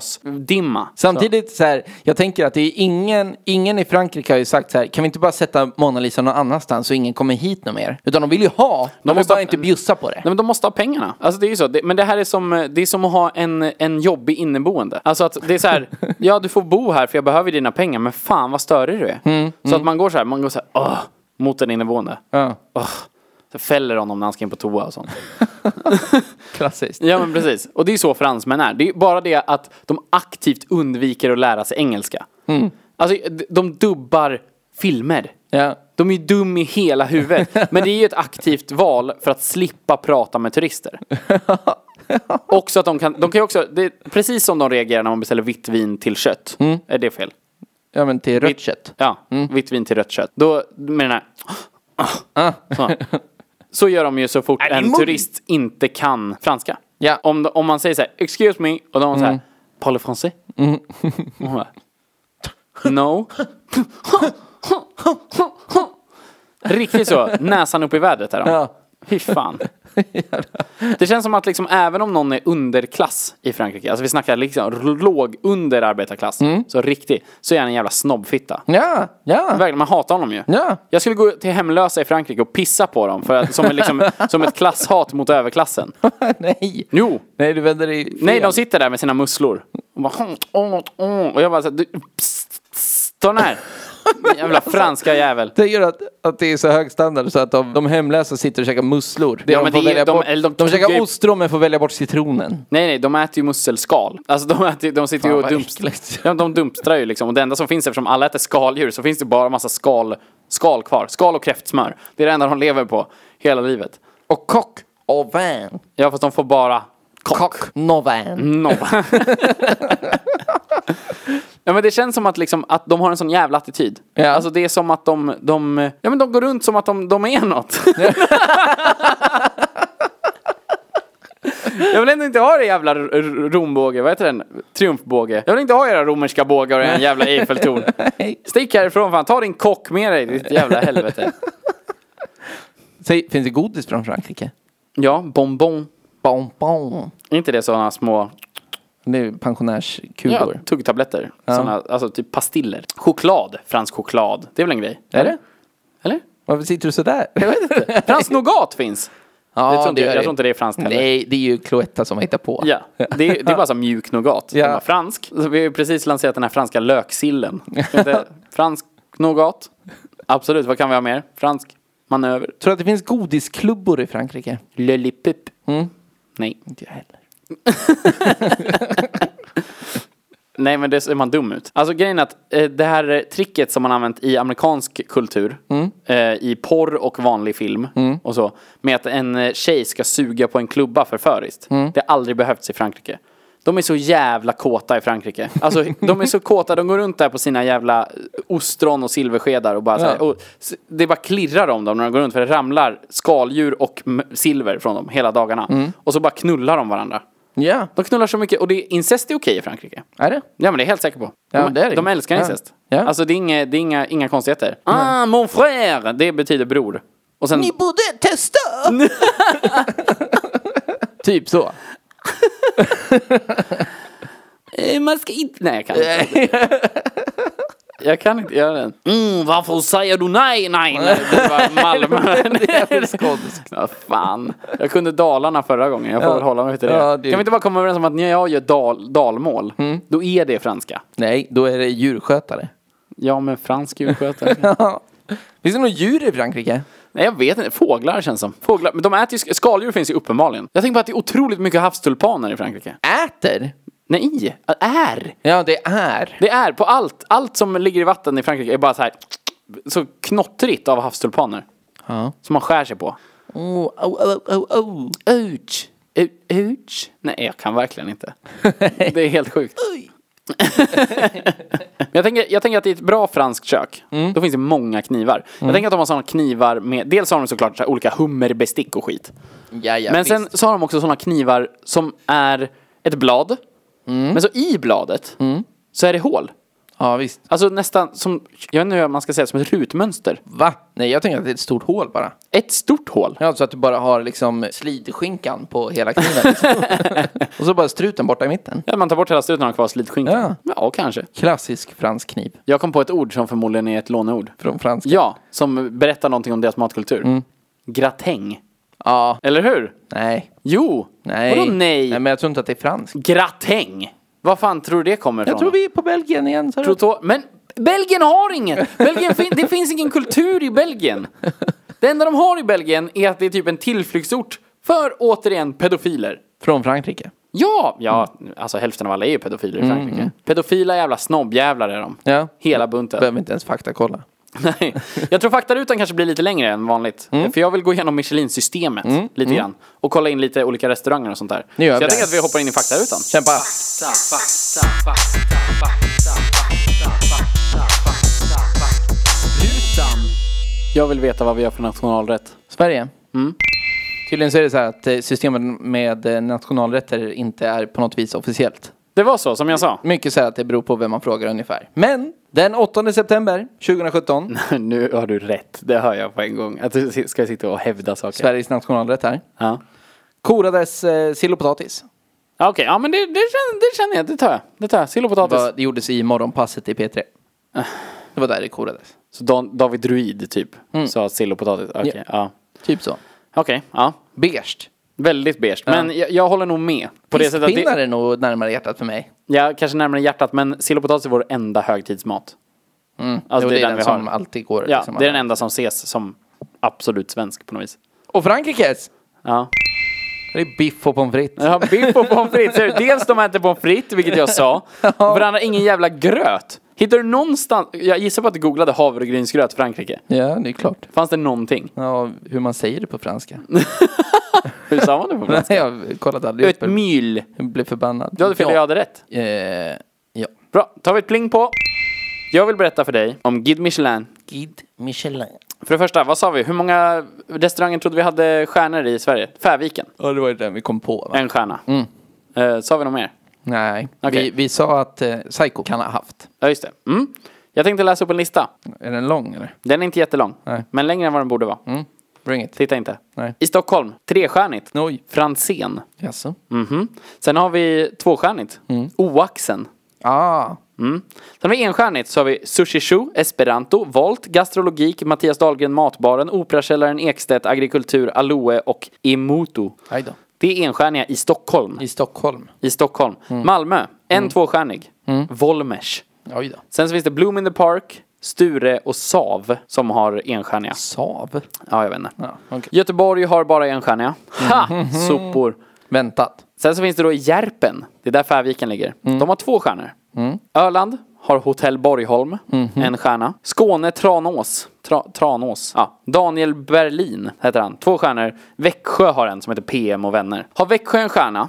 A: metangasdimma.
B: Samtidigt så här, jag tänker att det är ingen, ingen i Frankrike har ju sagt så här, kan vi inte bara sätta Mona Lisa någon annanstans så ingen kommer hit någon mer? Utan de vill ju ha, de, vill
A: måste-
B: bara inte bjussa på det.
A: Nej men de måste ha pengarna. Alltså det är ju så. Det, men det här är som, eh, det är som att ha en, en jobbig inneboende. Alltså att det är så här, ja du får bo här för jag behöver dina pengar men fan vad störig du är. så att man går så här, man går så här, åh, mot en inneboende.
B: Ja,
A: Åh. Så fäller honom när han ska in på toa och sånt.
B: klassiskt.
A: Ja men precis. Och det är så fransmän är. Det är bara det att de aktivt undviker att lära sig engelska. Alltså d- de dubbar filmer.
B: Ja.
A: De är ju dum i hela huvudet. Men det är ju ett aktivt val för att slippa prata med turister. Också att de kan, de kan ju också, det är precis som de reagerar när man beställer vitt vin till kött. Är det fel?
B: Ja men till rött kött. Mm.
A: Ja, vitt vin till rött kött. Då med den här...
B: Ah.
A: Så. så gör de ju så fort en turist inte kan franska.
B: Ja.
A: Om, de- om man säger så här, excuse me, och de mm. så här, parle français?
B: Mm.
A: Och hon bara, no. Riktigt så, näsan upp i vädret är de.
B: Ja.
A: Fy fan. Det känns som att liksom, även om någon är underklass i Frankrike, alltså vi snackar liksom låg under arbetarklass,
B: Mm.
A: så riktig, så är han en jävla snobbfitta.
B: Ja, ja.
A: Verkligen, man hatar honom ju.
B: Ja.
A: Jag skulle gå till hemlösa i Frankrike och pissa på dem, för att, som, en liksom, som ett klasshat mot överklassen.
B: Nej.
A: Jo!
B: Nej, du vänder dig fel.
A: Nej, de sitter där med sina musslor. Och, bara, "Hm, åh, åh." och jag bara så här, du, psst, psst, ta den här. Jävla franska jävel.
B: Det gör att, att det är så hög standard så att de, de hemlösa sitter och käkar musslor. Det
A: Ja,
B: de,
A: men
B: får
A: det är-
B: välja
A: de-
B: bort.
A: eller de
B: de
A: tuggar
B: käkar
A: ju-
B: ostron men får välja bort citronen.
A: Nej, nej, de äter ju musselskal. Alltså de, äter, de sitter ju
B: Fan,
A: och
B: vad
A: dumpst,
B: äckligt.
A: ja, de dumpstrar ju liksom. Och det enda som finns, eftersom alla äter skaldjur, så finns det bara massa skal, skal kvar. Skal och kräftsmör. Det är det enda de lever på hela livet.
B: Och kock. Och vän.
A: Ja, fast de får bara kock.
B: Kock. Mm. Novan.
A: No. ja, men det känns som att, liksom, att de har en sån jävla attityd.
B: Ja.
A: Alltså det är som att de, de, ja, men de går runt som att de, de är något. Jag vill ändå inte ha det jävla r- r- rombåge, vad heter den? Triumfbåge. Jag vill inte ha era romerska bågar och en jävla Eiffeltorn. Stick härifrån fan, ta din kock med dig ditt jävla helvete.
B: Säg, finns det godis från Frankrike?
A: Ja, bonbon.
B: Bon, bon.
A: Är inte det sådana små
B: Det är pensionärskulor.
A: Ja, tuggtabletter. Såna, alltså typ pastiller. Choklad, fransk choklad. Det är väl en grej?
B: Är det?
A: Eller?
B: Varför sitter du sådär? Jag vet inte.
A: Fransk nougat finns.
B: Ja,
A: jag, tror inte,
B: det gör
A: jag
B: det.
A: tror inte det är franskt heller.
B: Nej, det är ju Cloetta som har hittat på.
A: Ja, det är, det är bara så här mjuk nougat.
B: Ja.
A: De bara, Fransk. Så vi har ju precis lanserat den här franska löksillen. Ska vi inte- fransk nougat. Absolut, vad kan vi ha mer? Fransk manöver.
B: Tror du att det finns godisklubbor i Frankrike?
A: Lollipop.
B: Mm.
A: Nej.
B: Inte jag heller.
A: Nej, men det ser man dum ut. Alltså grejen är att eh, det här eh, tricket som man använt i amerikansk kultur, eh, i porr och vanlig film och så, med att en eh, tjej ska suga på en klubba förföriskt. Det har aldrig behövts i Frankrike. De är så jävla kåta i Frankrike. Alltså de är så kåta, de går runt där på sina jävla eh, ostron och silverskedar och bara så här,
B: Ja.
A: och s- Det bara klirrar om dem när de går runt för det ramlar skaldjur och m- silver från dem hela dagarna. Och så bara knullar de varandra.
B: Ja,
A: De knullar så mycket och det, incest är okej i Frankrike.
B: är det?
A: Ja men det är jag helt säker på. De,
B: Ja, det är det.
A: de älskar
B: Ja.
A: incest.
B: Ja.
A: Alltså det är, inga, det är inga, inga konstigheter. Ah, mon frère! Det betyder bror. Och sen,
B: borde testa! typ så.
A: eh, man ska inte... Nej, jag kan inte. jag kan inte göra den. Mm, varför säger du nej, nej, nej? Det var Malmö. Ja, fan. Jag kunde Dalarna förra gången, jag får
B: Ja.
A: väl hålla mig till det. Mm.
B: Ja, det-
A: Kan vi inte bara komma överens om att när jag gör dal, dalmål, då är det franska.
B: Nej, då är det djurskötare.
A: Ja, men fransk djurskötare.
B: Finns det några djur i Frankrike?
A: Nej jag vet inte, fåglar känns som. Fåglar, men de äter ju, sk- skaldjur finns ju uppenbarligen. Jag tänker på att det är otroligt mycket havstulpaner i Frankrike.
B: Äter?
A: Nej, är.
B: Ja, det är.
A: Det är på allt, allt som ligger i vatten i Frankrike är bara så här så knottrigt av havstulpaner.
B: Ja.
A: Som man skär sig på.
B: Oh, oh, oh, oh, oh.
A: Ouch. U- Ouch. Nej, jag kan verkligen inte. Det är helt sjukt. Men jag, tänker, jag tänker att i ett bra franskt kök, då finns det många knivar. Jag tänker att de har sådana knivar med, dels har de såklart så här olika hummerbestick och skit.
B: Ja, ja,
A: Men
B: visst.
A: sen så har de också sådana knivar som är ett blad.
B: Mm.
A: Men så i bladet så är det hål.
B: Ja, visst.
A: Alltså nästan som, jag vet inte hur man ska säga, som ett rutmönster.
B: Va? Nej, jag tänker att det är ett stort hål bara.
A: Ett stort hål.
B: Ja, så att du bara har liksom slidskinkan på hela kniven. liksom. och så bara struten borta i mitten.
A: Ja, man tar bort hela struten och har kvar slitskinkan. Ja. kanske.
B: Klassisk fransk kniv.
A: Jag kom på ett ord som förmodligen är ett låneord.
B: Från franska.
A: Ja, som berättar någonting om deras matkultur. Gratäng.
B: Mm. Ja.
A: Eller hur?
B: Nej.
A: Jo.
B: Nej.
A: Vadå nej?
B: men jag tror inte att det är franskt.
A: Gratäng. Vad fan tror du det kommer ifrån?
B: Jag tror vi är på Belgien igen. Så är det-
A: Proto- men Belgien har inget! Belgien fin- det finns ingen kultur i Belgien. Det enda de har i Belgien är att det är typ en tillflyktsort för, återigen, pedofiler.
B: Från Frankrike.
A: Ja! Ja, alltså hälften av alla är ju pedofiler i Frankrike. Pedofila jävla snobbjävlar är de.
B: Mm. Ja.
A: Hela bunten.
B: Behöver inte ens faktakolla.
A: Nej. Jag tror faktarutan kanske blir lite längre än vanligt.
B: Mm.
A: För jag vill gå igenom Michelin-systemet lite grann. Och kolla in lite olika restauranger och sånt där. Så
B: gör
A: jag
B: vi Mm. det.
A: tänker att vi hoppar in i faktarutan.
B: Kämpa.
A: Jag vill veta vad vi gör för nationalrätt.
B: Sverige.
A: Mm.
B: Tydligen så är det så här att eh, systemet med eh, nationalrätter inte är på något vis officiellt.
A: Det var så, som jag sa.
B: Mycket så här att det beror på vem man frågar ungefär. Men den 8 september 2017,
A: Nu har du rätt, det hör jag på en gång. Att du si- ska sitta och hävda saker.
B: Sveriges nationalrätt här,
A: Ja.
B: korades eh, sill och potatis.
A: Ja, Okej, ja men det, det, känner, det känner jag, det tar jag. Det tar jag, sill och potatis.
B: Vad- Det gjordes i morgonpasset i P3.
A: Äh.
B: Det var där det korades.
A: Så Dan, David Druid typ, sa sill och potatis. Okej,
B: Ja.
A: ja.
B: Typ så.
A: Okej, ja.
B: Beige.
A: Väldigt beige. Men jag, jag håller nog med. På det sättet att
B: Fiskpinnar
A: det,
B: är nog närmare hjärtat för mig.
A: jag kanske närmare hjärtat, men sill och potatis är vår enda högtidsmat. Alltså,
B: Jo,
A: det är den, vi
B: som
A: har.
B: alltid går.
A: Ja,
B: liksom.
A: det är den enda som ses som absolut svensk på något vis.
B: Och Frankrikes!
A: Ja.
B: Det är biff och pommes frites.
A: Ja, biff och pommes frites. Ser du? Dels de äter pommes frites, vilket jag sa. För det andra, ingen jävla gröt. Hittar du någonstans, jag gissar på att du googlade havregrynsgröt i Frankrike.
B: Ja, det är klart.
A: Fanns det någonting?
B: Ja, hur man säger det på franska.
A: Hur sa man det på
B: Nej,
A: franska?
B: jag kollade aldrig
A: Ett
B: upp. det.
A: myl.
B: Jag blev förbannad.
A: Du hade fel, jag hade rätt.
B: Eh, ja.
A: Bra, tar vi ett pling på. Jag vill berätta för dig om Guide Michelin.
B: Guide Michelin.
A: För det första, vad sa vi? Hur många restauranger trodde vi hade stjärnor i Sverige? Färviken,
B: Ja, det var ju den vi kom på. Va? Mm.
A: en stjärna. Eh, sa vi något mer?
B: Nej,
A: Okej.
B: vi, vi sa att eh, Psycho kan ha haft.
A: Ja, just det. Mm. Jag tänkte läsa upp en lista.
B: Är den lång eller?
A: Den är inte jättelång,
B: Nej. Mm.
A: men längre än vad den borde vara.
B: Bring it.
A: Titta inte.
B: Nej.
A: I Stockholm, trestjärnigt.
B: Oj.
A: Franzén.
B: Jaså?
A: Mhm. Sen har vi tvåstjärnigt.
B: Mm.
A: Oaxen.
B: Ah,
A: Sen har vi enstjärnigt så har vi Sushi Shu, Esperanto, Volt, Gastrologik, Mattias Dahlgren, Matbaren, Operakällaren, Ekstedt, Agrikultur, Aloe och Emoto.
B: hej då.
A: Det är enstjärniga i Stockholm.
B: I Mm. Stockholm.
A: I Stockholm.
B: Mm.
A: Malmö, en tvåstjärnig. Volmers.
B: Oj då.
A: Sen så finns det Bloom in the Park, Sture och Sav som har enstjärniga.
B: Sav?
A: Ja, jag vet inte.
B: Ja, Mm. okej.
A: Göteborg har bara enstjärniga. Ha! Sopor.
B: Väntat.
A: Sen så finns det då Järpen. Det är där Färviken ligger. De har två stjärnor. Öland har Hotell Borgholm, en stjärna. Skåne Tranås. Tra, Tranås. Ja. Daniel Berlin heter han. Två stjärnor. Växjö har en som heter PM och vänner. Har Växjö en stjärna,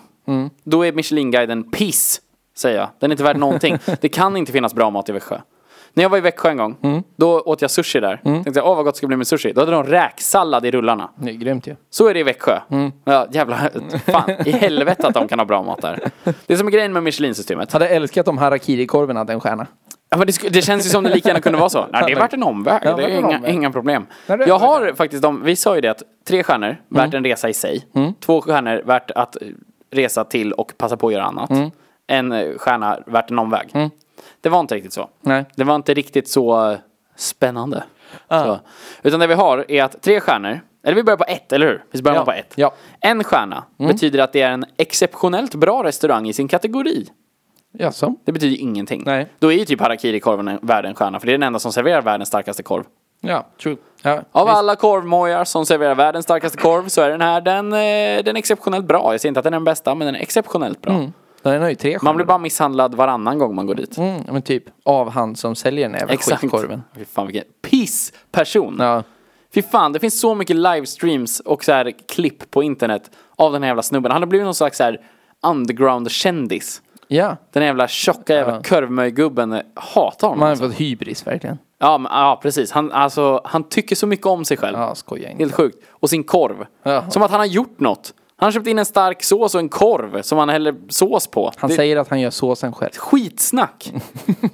A: då är Michelinguiden piss, säger jag. Den är inte värd någonting. det kan inte finnas bra mat i Växjö. När jag var i Växjö en gång, då åt jag sushi där. Tänkte jag, åh vad gott det ska bli med sushi. Då hade de räksallad i rullarna.
B: Det är grymt ju.
A: Så är det i Växjö. Ja, jävla, fan, i helvete att de kan ha bra mat där. Det är som är grejen med Michelin-systemet.
B: Hade älskat om harakiri-korven hade en stjärna.
A: Ja, men det, sk- det känns ju som det lika gärna kunde vara så. Nej, det är värt en omväg.
B: Ja,
A: det
B: värt
A: är
B: en
A: inga,
B: omväg.
A: inga problem.
B: Nej, det Mm. är
A: Jag
B: värt
A: har faktiskt de, vi sa ju det att tre stjärnor, värt en resa i sig. Två stjärnor, värt att resa till och passa på att göra annat.
B: Mm.
A: En eh, stjärna, värt en omväg. Det var inte riktigt så.
B: Nej. Ah.
A: Det var inte riktigt så eh, spännande. Så. Utan det vi har är att tre stjärnor, eller vi börjar på ett, eller hur? Visst börjar
B: Ja.
A: man på ett?
B: Ja. Mm.
A: En stjärna betyder att det är en exceptionellt bra restaurang i sin kategori.
B: Jaså?
A: Det betyder ingenting.
B: Nej.
A: Då är ju typ harakiri-korven en- värd en stjärna, för det är den enda som serverar världens starkaste korv.
B: Ja, true. Ja,
A: Av
B: visst.
A: alla korvmojar som serverar världens starkaste korv så är den här den, eh, den är exceptionellt bra. Jag säger inte att den är den bästa, men den är exceptionellt bra.
B: Mm. Den har ju tre
A: Man blir bara misshandlad varannan gång man går dit.
B: stjärnor. mm, men typ av han som säljer den jävla skitkorven.
A: Fy fan vilken pissperson.
B: Ja.
A: Fy fan, det finns så mycket livestreams och så här klipp på internet av den här jävla snubben. Han har blivit någon slags så här underground-kändis.
B: ja,
A: Den här jävla tjocka jävla ja. korvmöjgubben hatar honom.
B: man har
A: alltså.
B: fått hybris verkligen.
A: Ja, men, ja, precis. Han, alltså, han tycker så mycket om sig själv.
B: Ja, skoja inte.
A: Helt sjukt. Och sin korv.
B: Ja.
A: Som att han har gjort något. Han har köpt in en stark sås och en korv som han häller sås på.
B: Han
A: det,
B: säger att han gör såsen själv.
A: Skitsnack!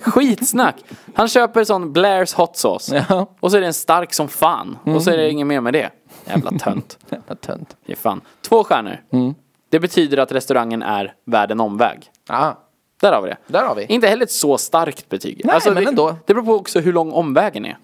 A: Skitsnack! Han köper sån Blairs hot sauce.
B: Ja. Mm.
A: Och så är den stark som fan. Och så är det inget mer med det. Jävla tönt.
B: Vad tönt.
A: Ge fan. Två stjärnor.
B: Mm.
A: Det betyder att restaurangen är världen omväg.
B: Ja,
A: Där har vi det.
B: Där har vi.
A: Inte heller ett så starkt betyg. Alltså,
B: Nej, men
A: det,
B: ändå. Mm.
A: Det beror på också hur lång omvägen är.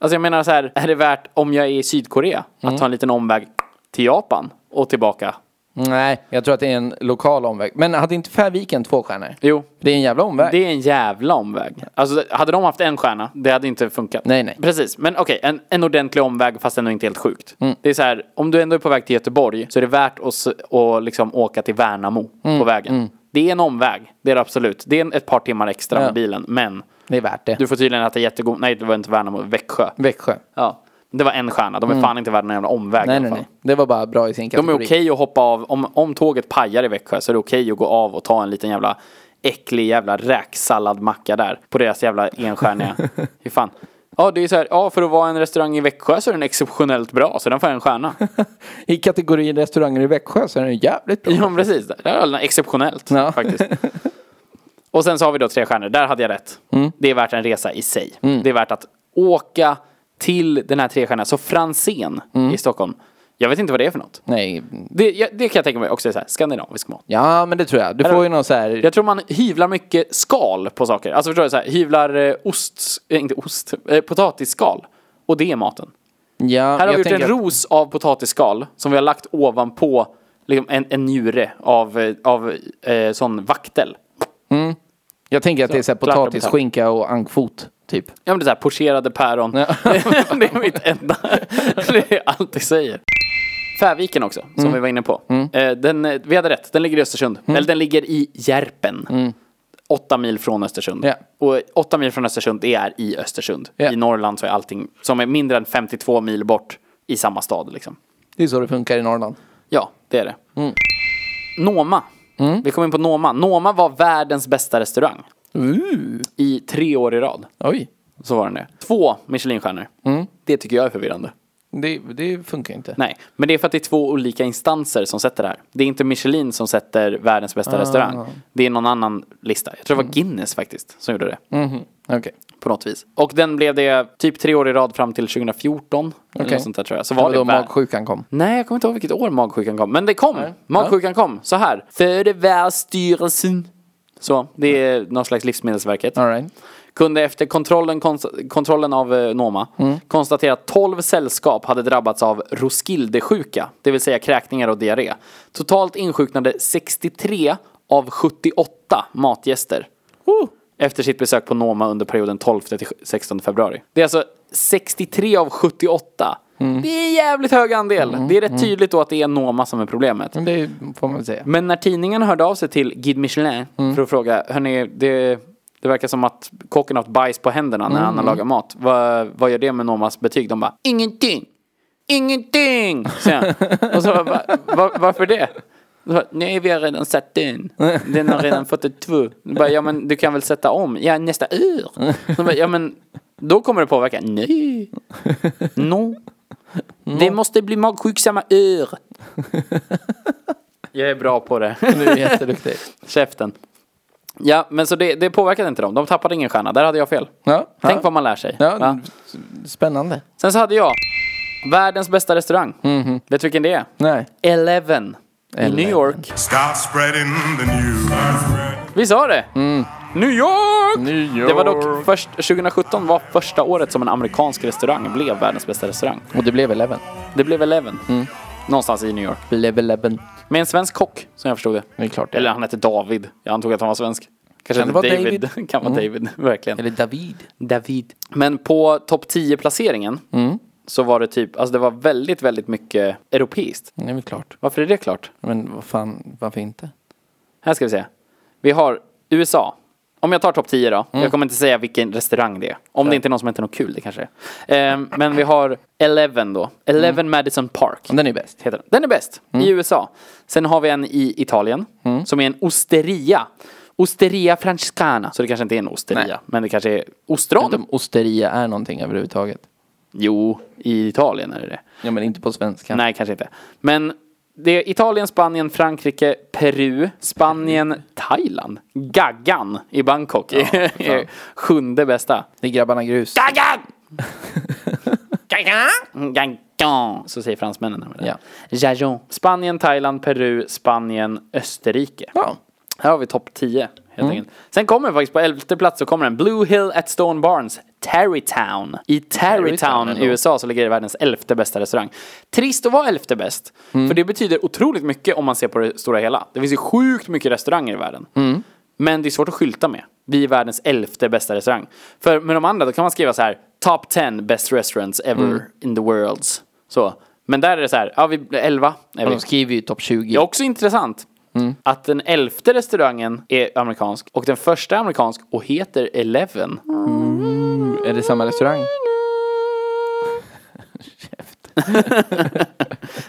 A: Alltså jag menar så här, är det värt, om jag är i Sydkorea, att ta en liten omväg till Japan och tillbaka?
B: nej, jag tror att det är en lokal omväg. Men hade inte Färviken två stjärnor?
A: Jo.
B: Det är en jävla omväg.
A: Det är en jävla omväg. Alltså hade de haft en stjärna, det hade inte funkat.
B: Nej, nej.
A: Precis, men okej, en, en ordentlig omväg fast ändå inte helt sjukt.
B: Mm.
A: Det är så här, om du ändå är på väg till Göteborg så är det värt att, s- att liksom åka till Värnamo
B: Mm,
A: på vägen. Det är en omväg, det är det absolut. Det är en- ett par timmar extra
B: Ja.
A: med bilen, men
B: Det är värt det.
A: Du får tydligen äta jättegod, nej det var inte Värnamo, Växjö.
B: Växjö.
A: Ja. Det var en stjärna, de är fan inte värda någon jävla omväg i
B: Mm. Nej,
A: alla
B: nej,
A: fall.
B: nej. Det var bara bra i sin
A: De är
B: kategori.
A: okej att hoppa av, om, om tåget pajar i Växjö så är det okej att gå av och ta en liten jävla äcklig jävla räksalladmacka där. På deras jävla enstjärniga. Hur fan. Ja, det är så här, ja för att vara en restaurang i Växjö så är den exceptionellt bra, så den får en stjärna.
B: I kategorin restauranger i Växjö så är den jävligt bra.
A: ja, men precis. Där är den exceptionellt
B: Ja.
A: faktiskt. Och sen så har vi då tre stjärnor, där hade jag rätt. Det är värt en resa i sig. Det är värt att åka till den här trestjärniga, så Franzén i Stockholm. Jag vet inte vad det är för något.
B: Nej.
A: Det, jag, det kan jag tänka mig också är så här, skandinavisk mat.
B: Ja, men det tror jag. Du får ju någon så här...
A: Jag tror man hyvlar mycket skal på saker. Alltså förstår du? Så här, hyvlar eh, ost, eh, inte ost, eh, potatisskal. Och det är maten.
B: Ja,
A: Här har
B: jag
A: vi gjort en
B: tänker att-
A: ros av potatisskal som vi har lagt ovanpå liksom, en, en njure av, eh, av eh, sån vaktel.
B: Jag tänker att det är så här
A: klart de tar.
B: potatisskinka och ankfot, typ.
A: Ja men det är så här pocherade päron.
B: Ja.
A: det är mitt enda, det är allt jag säger. Färviken också, som
B: Mm.
A: vi var inne på. Eh, Den, eh, vi hade rätt, den ligger i Östersund. Eller den ligger i Järpen. Åtta mil från Östersund.
B: Mm. Ja.
A: Och åtta mil från Östersund, det är i Östersund.
B: Ja.
A: I Norrland så är allting som är mindre än 52 mil bort i samma stad liksom.
B: Det är så det funkar i Norrland.
A: Ja, det är det. Noma. Vi kom in på Noma. Noma var världens bästa restaurang. I tre år i rad.
B: Oj.
A: Så var den det. Två Michelinstjärnor. Det tycker jag är förvirrande.
B: Det, det funkar inte.
A: Nej, men det är för att det är två olika instanser som sätter det här. Det är inte Michelin som sätter världens bästa restaurang. Det är någon annan lista. Jag tror det var Guinness faktiskt som gjorde det.
B: Okej.
A: På något vis. Och den blev det typ tre år i rad fram till 2014. Eller
B: Okej.
A: något sånt där tror jag. Så
B: Det
A: var
B: var
A: det,
B: då
A: värd-
B: magsjukan kom.
A: Nej, jag kommer inte ihåg vilket år magsjukan kom. Men det kom! Magsjukan kom, så här. Förevärdstyrelsen. Så, det är någon slags Livsmedelsverket.
B: All right.
A: Kunde efter kontrollen, konst- kontrollen av eh, Noma konstatera att 12 sällskap hade drabbats av Roskildesjuka, det vill säga kräkningar och diarré. Totalt insjuknade 63 av 78 matgäster. efter sitt besök på Noma under perioden 12 till 16 februari. Det är alltså 63 av 78. Det är en jävligt hög andel. Det är rätt tydligt då att det är Noma som är problemet.
B: Men det får man väl säga.
A: Men när tidningen hörde av sig till Guide Michelin för att fråga, hörni, det, det verkar som att kocken har haft bajs på händerna när han har lagat mat. Vad, vad gör det med Nomas betyg? De bara, ingenting! Ingenting! säger han. Och så bara, "Va- varför det? De bara, Nej, vi har redan satt den. Den har redan fått ett två. De bara, ja men du kan väl sätta om? Ja, nästa ur. De bara, ja men då kommer det påverka. Nej. No. Det måste bli magsjuk samma ur. Jag är bra på det.
B: Du är jätteduktig.
A: Käften. Ja, men så det, det påverkade inte dem. De tappade ingen stjärna. Där hade jag fel.
B: Ja,
A: Tänk
B: ja.
A: vad man lär sig.
B: Ja,
A: va?
B: spännande.
A: Sen så hade jag världens bästa restaurang.
B: Mhm.
A: Vet du vilken det är?
B: Nej.
A: Eleven. I New York.
E: Stop spreading the news.
A: Vi sa det! New York!
B: Mm. New York.
A: Det var dock först, 2017 var första året som en amerikansk restaurang blev världens bästa restaurang.
B: Och det blev Eleven.
A: Det blev Eleven.
B: Mm.
A: Någonstans i New York.
B: Blev Eleven.
A: Med en svensk kock, som jag förstod det.
B: Det är klart det.
A: Eller han hette David. Jag antog att han var svensk. Kanske
B: Kan det
A: hette
B: vara
A: David.
B: David? Mm.
A: Kan vara David, verkligen.
B: Eller David.
A: David. Men på topp 10-placeringen så var det typ, alltså det var väldigt, väldigt mycket europeiskt.
B: Det är väl klart.
A: Varför är det klart?
B: Men vad fan, varför inte?
A: Här ska vi se. Vi har USA. Om jag tar topp 10 då. Jag kommer inte säga vilken restaurang det är. Om det inte är någon som heter något kul, det kanske är. Ehm, men vi har Eleven då. Eleven Madison Park.
B: Den är bäst.
A: heter den. Den är bäst i USA. Sen har vi en i Italien som är en osteria. Osteria Francescana. Så det kanske inte är en osteria,
B: Nej.
A: men det kanske är ostron.
B: Inte om osteria är någonting överhuvudtaget.
A: Jo, i Italien är det det.
B: Ja, men inte på svenska.
A: Nej, kanske inte. Men det är Italien, Spanien, Frankrike, Peru, Spanien, Thailand. Gaggan i Bangkok är sjunde bästa.
B: Det är grabbarna grus.
A: Gaggan! Gaggan! Gaggan! Så säger fransmännen. när de är där. Jajon. Spanien, Thailand, Peru, Spanien, Österrike.
B: Ja.
A: Här har vi topp 10 helt enkelt. Sen kommer faktiskt på elfte plats så kommer den Blue Hill at Stone Barns, Tarrytown. I
B: Tarrytown
A: Tarrytown
B: ändå.
A: i USA så ligger det världens elfte bästa restaurang. Trist att vara elfte bäst, för det betyder otroligt mycket om man ser på det stora hela. Det finns ju sjukt mycket restauranger i världen. Men det är svårt att skylta med. Vi är världens elfte bästa restaurang. För med de andra då kan man skriva så här, Top 10 best restaurants ever in the world. Så. Men där är det så här, ja vi blir elva. är
B: Och
A: vi. Mm.
B: de skriver ju topp 20.
A: Det är också intressant att den elfte restaurangen är amerikansk och den första är amerikansk och heter Eleven.
B: Är det samma restaurang?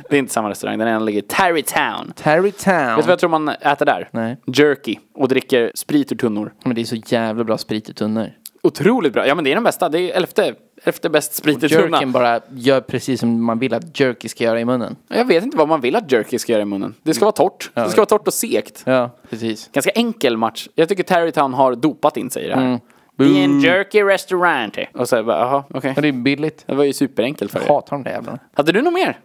A: Det är inte samma restaurang, den ena ligger i Tarrytown. Vet
B: Tarrytown.
A: du vad jag tror man äter där?
B: Nej.
A: Jerky och dricker sprit ur tunnor.
B: Men det är så jävla bra sprit i tunnor.
A: Otroligt bra. Ja men det är den bästa. Det är elfte, elfte bäst sprit i tunna.
B: Jerken bara gör precis som man vill att jerky ska göra i munnen.
A: Jag vet inte vad man vill att jerky ska göra i munnen. Det ska vara torrt. Det ska vara torrt och segt.
B: Mm. Ja, precis.
A: Ganska enkel match. Jag tycker Tarrytown har dopat in sig i det
B: Mm.
A: här. Det är en jerky restaurant. Och så bara, jaha, okej.
B: Men det är billigt.
A: Det var ju superenkelt för
B: Jag
A: er.
B: hatar de där jävlarna.
A: Hade du något mer?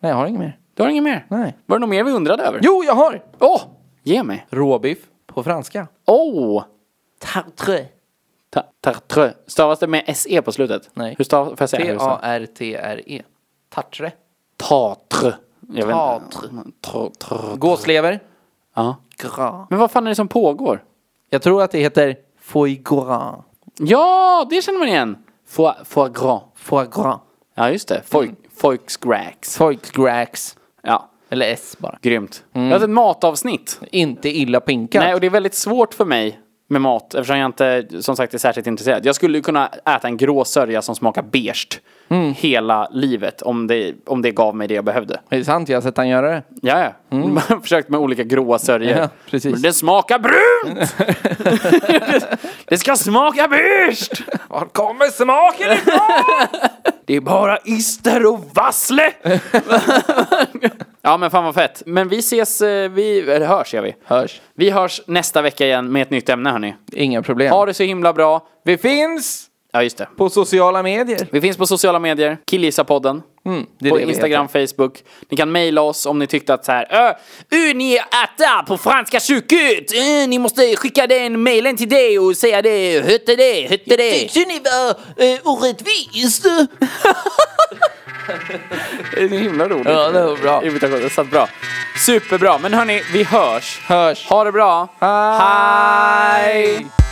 B: Nej, jag har inget mer.
A: Du har inget mer?
B: Nej.
A: Var det något mer vi undrade över?
B: Jo, jag har!
A: Åh! ge mig.
B: Råbiff på franska.
A: Åh! Oh.
B: Tartre.
A: Tartre. Stavas det med SE på slutet?
B: Nej.
A: Hur stavas det?
B: T-A-R-T-R-E. E. Tartre.
A: Tartre. Jag vet inte.
B: Tartre.
A: Tr- tr-
B: Gåslever.
A: Ja.
B: Gras.
A: Men vad fan är det som pågår?
B: Jag tror att det heter foie gras.
A: Ja, det känner man igen! Foie, foie gras.
B: Foie gras.
A: Ja, just det. Foie, Foixgrax.
B: Foie gras.
A: Ja,
B: Eller S bara.
A: grymt. Jag hade ett matavsnitt.
B: Inte illa pinkat.
A: Nej, och det är väldigt svårt för mig med mat eftersom jag inte som sagt är särskilt intresserad. Jag skulle ju kunna äta en grå sörja som smakar beige hela livet om det, om det gav mig det jag behövde.
B: det är sant, jag har sett han göra det.
A: Ja, ja. Man har försökt med olika gråa sörjor.
B: Mm. Ja, precis.
A: Men det smakar brunt! det ska smaka beige!
B: Var kommer smaken ifrån?
A: Det är bara ister och vassle! ja men fan vad fett. Men vi ses, eh, vi, eller hörs gör vi.
B: Hörs.
A: Vi hörs nästa vecka igen med ett nytt ämne hörni.
B: Inga problem.
A: Ha det så himla bra.
B: Vi finns
A: Ja just det.
B: på sociala medier.
A: Vi finns på sociala medier, Killgissarpodden.
B: Mm, det är
A: på
B: det vi
A: Instagram, Facebook. Ni kan mejla oss om ni tyckte att så här, "Ö, ö, ni äter på franska köket! Ö, ni måste skicka den mejlen till dig och säga det, hette det, hette det!
B: Tyckte ni var eh, orättvist?
A: Det är så himla roligt.
B: Ja, det var bra.
A: Imitation, det satt bra. Superbra, men hörni, vi hörs.
B: Hörs.
A: Ha det bra.
B: Hej!
A: Hej.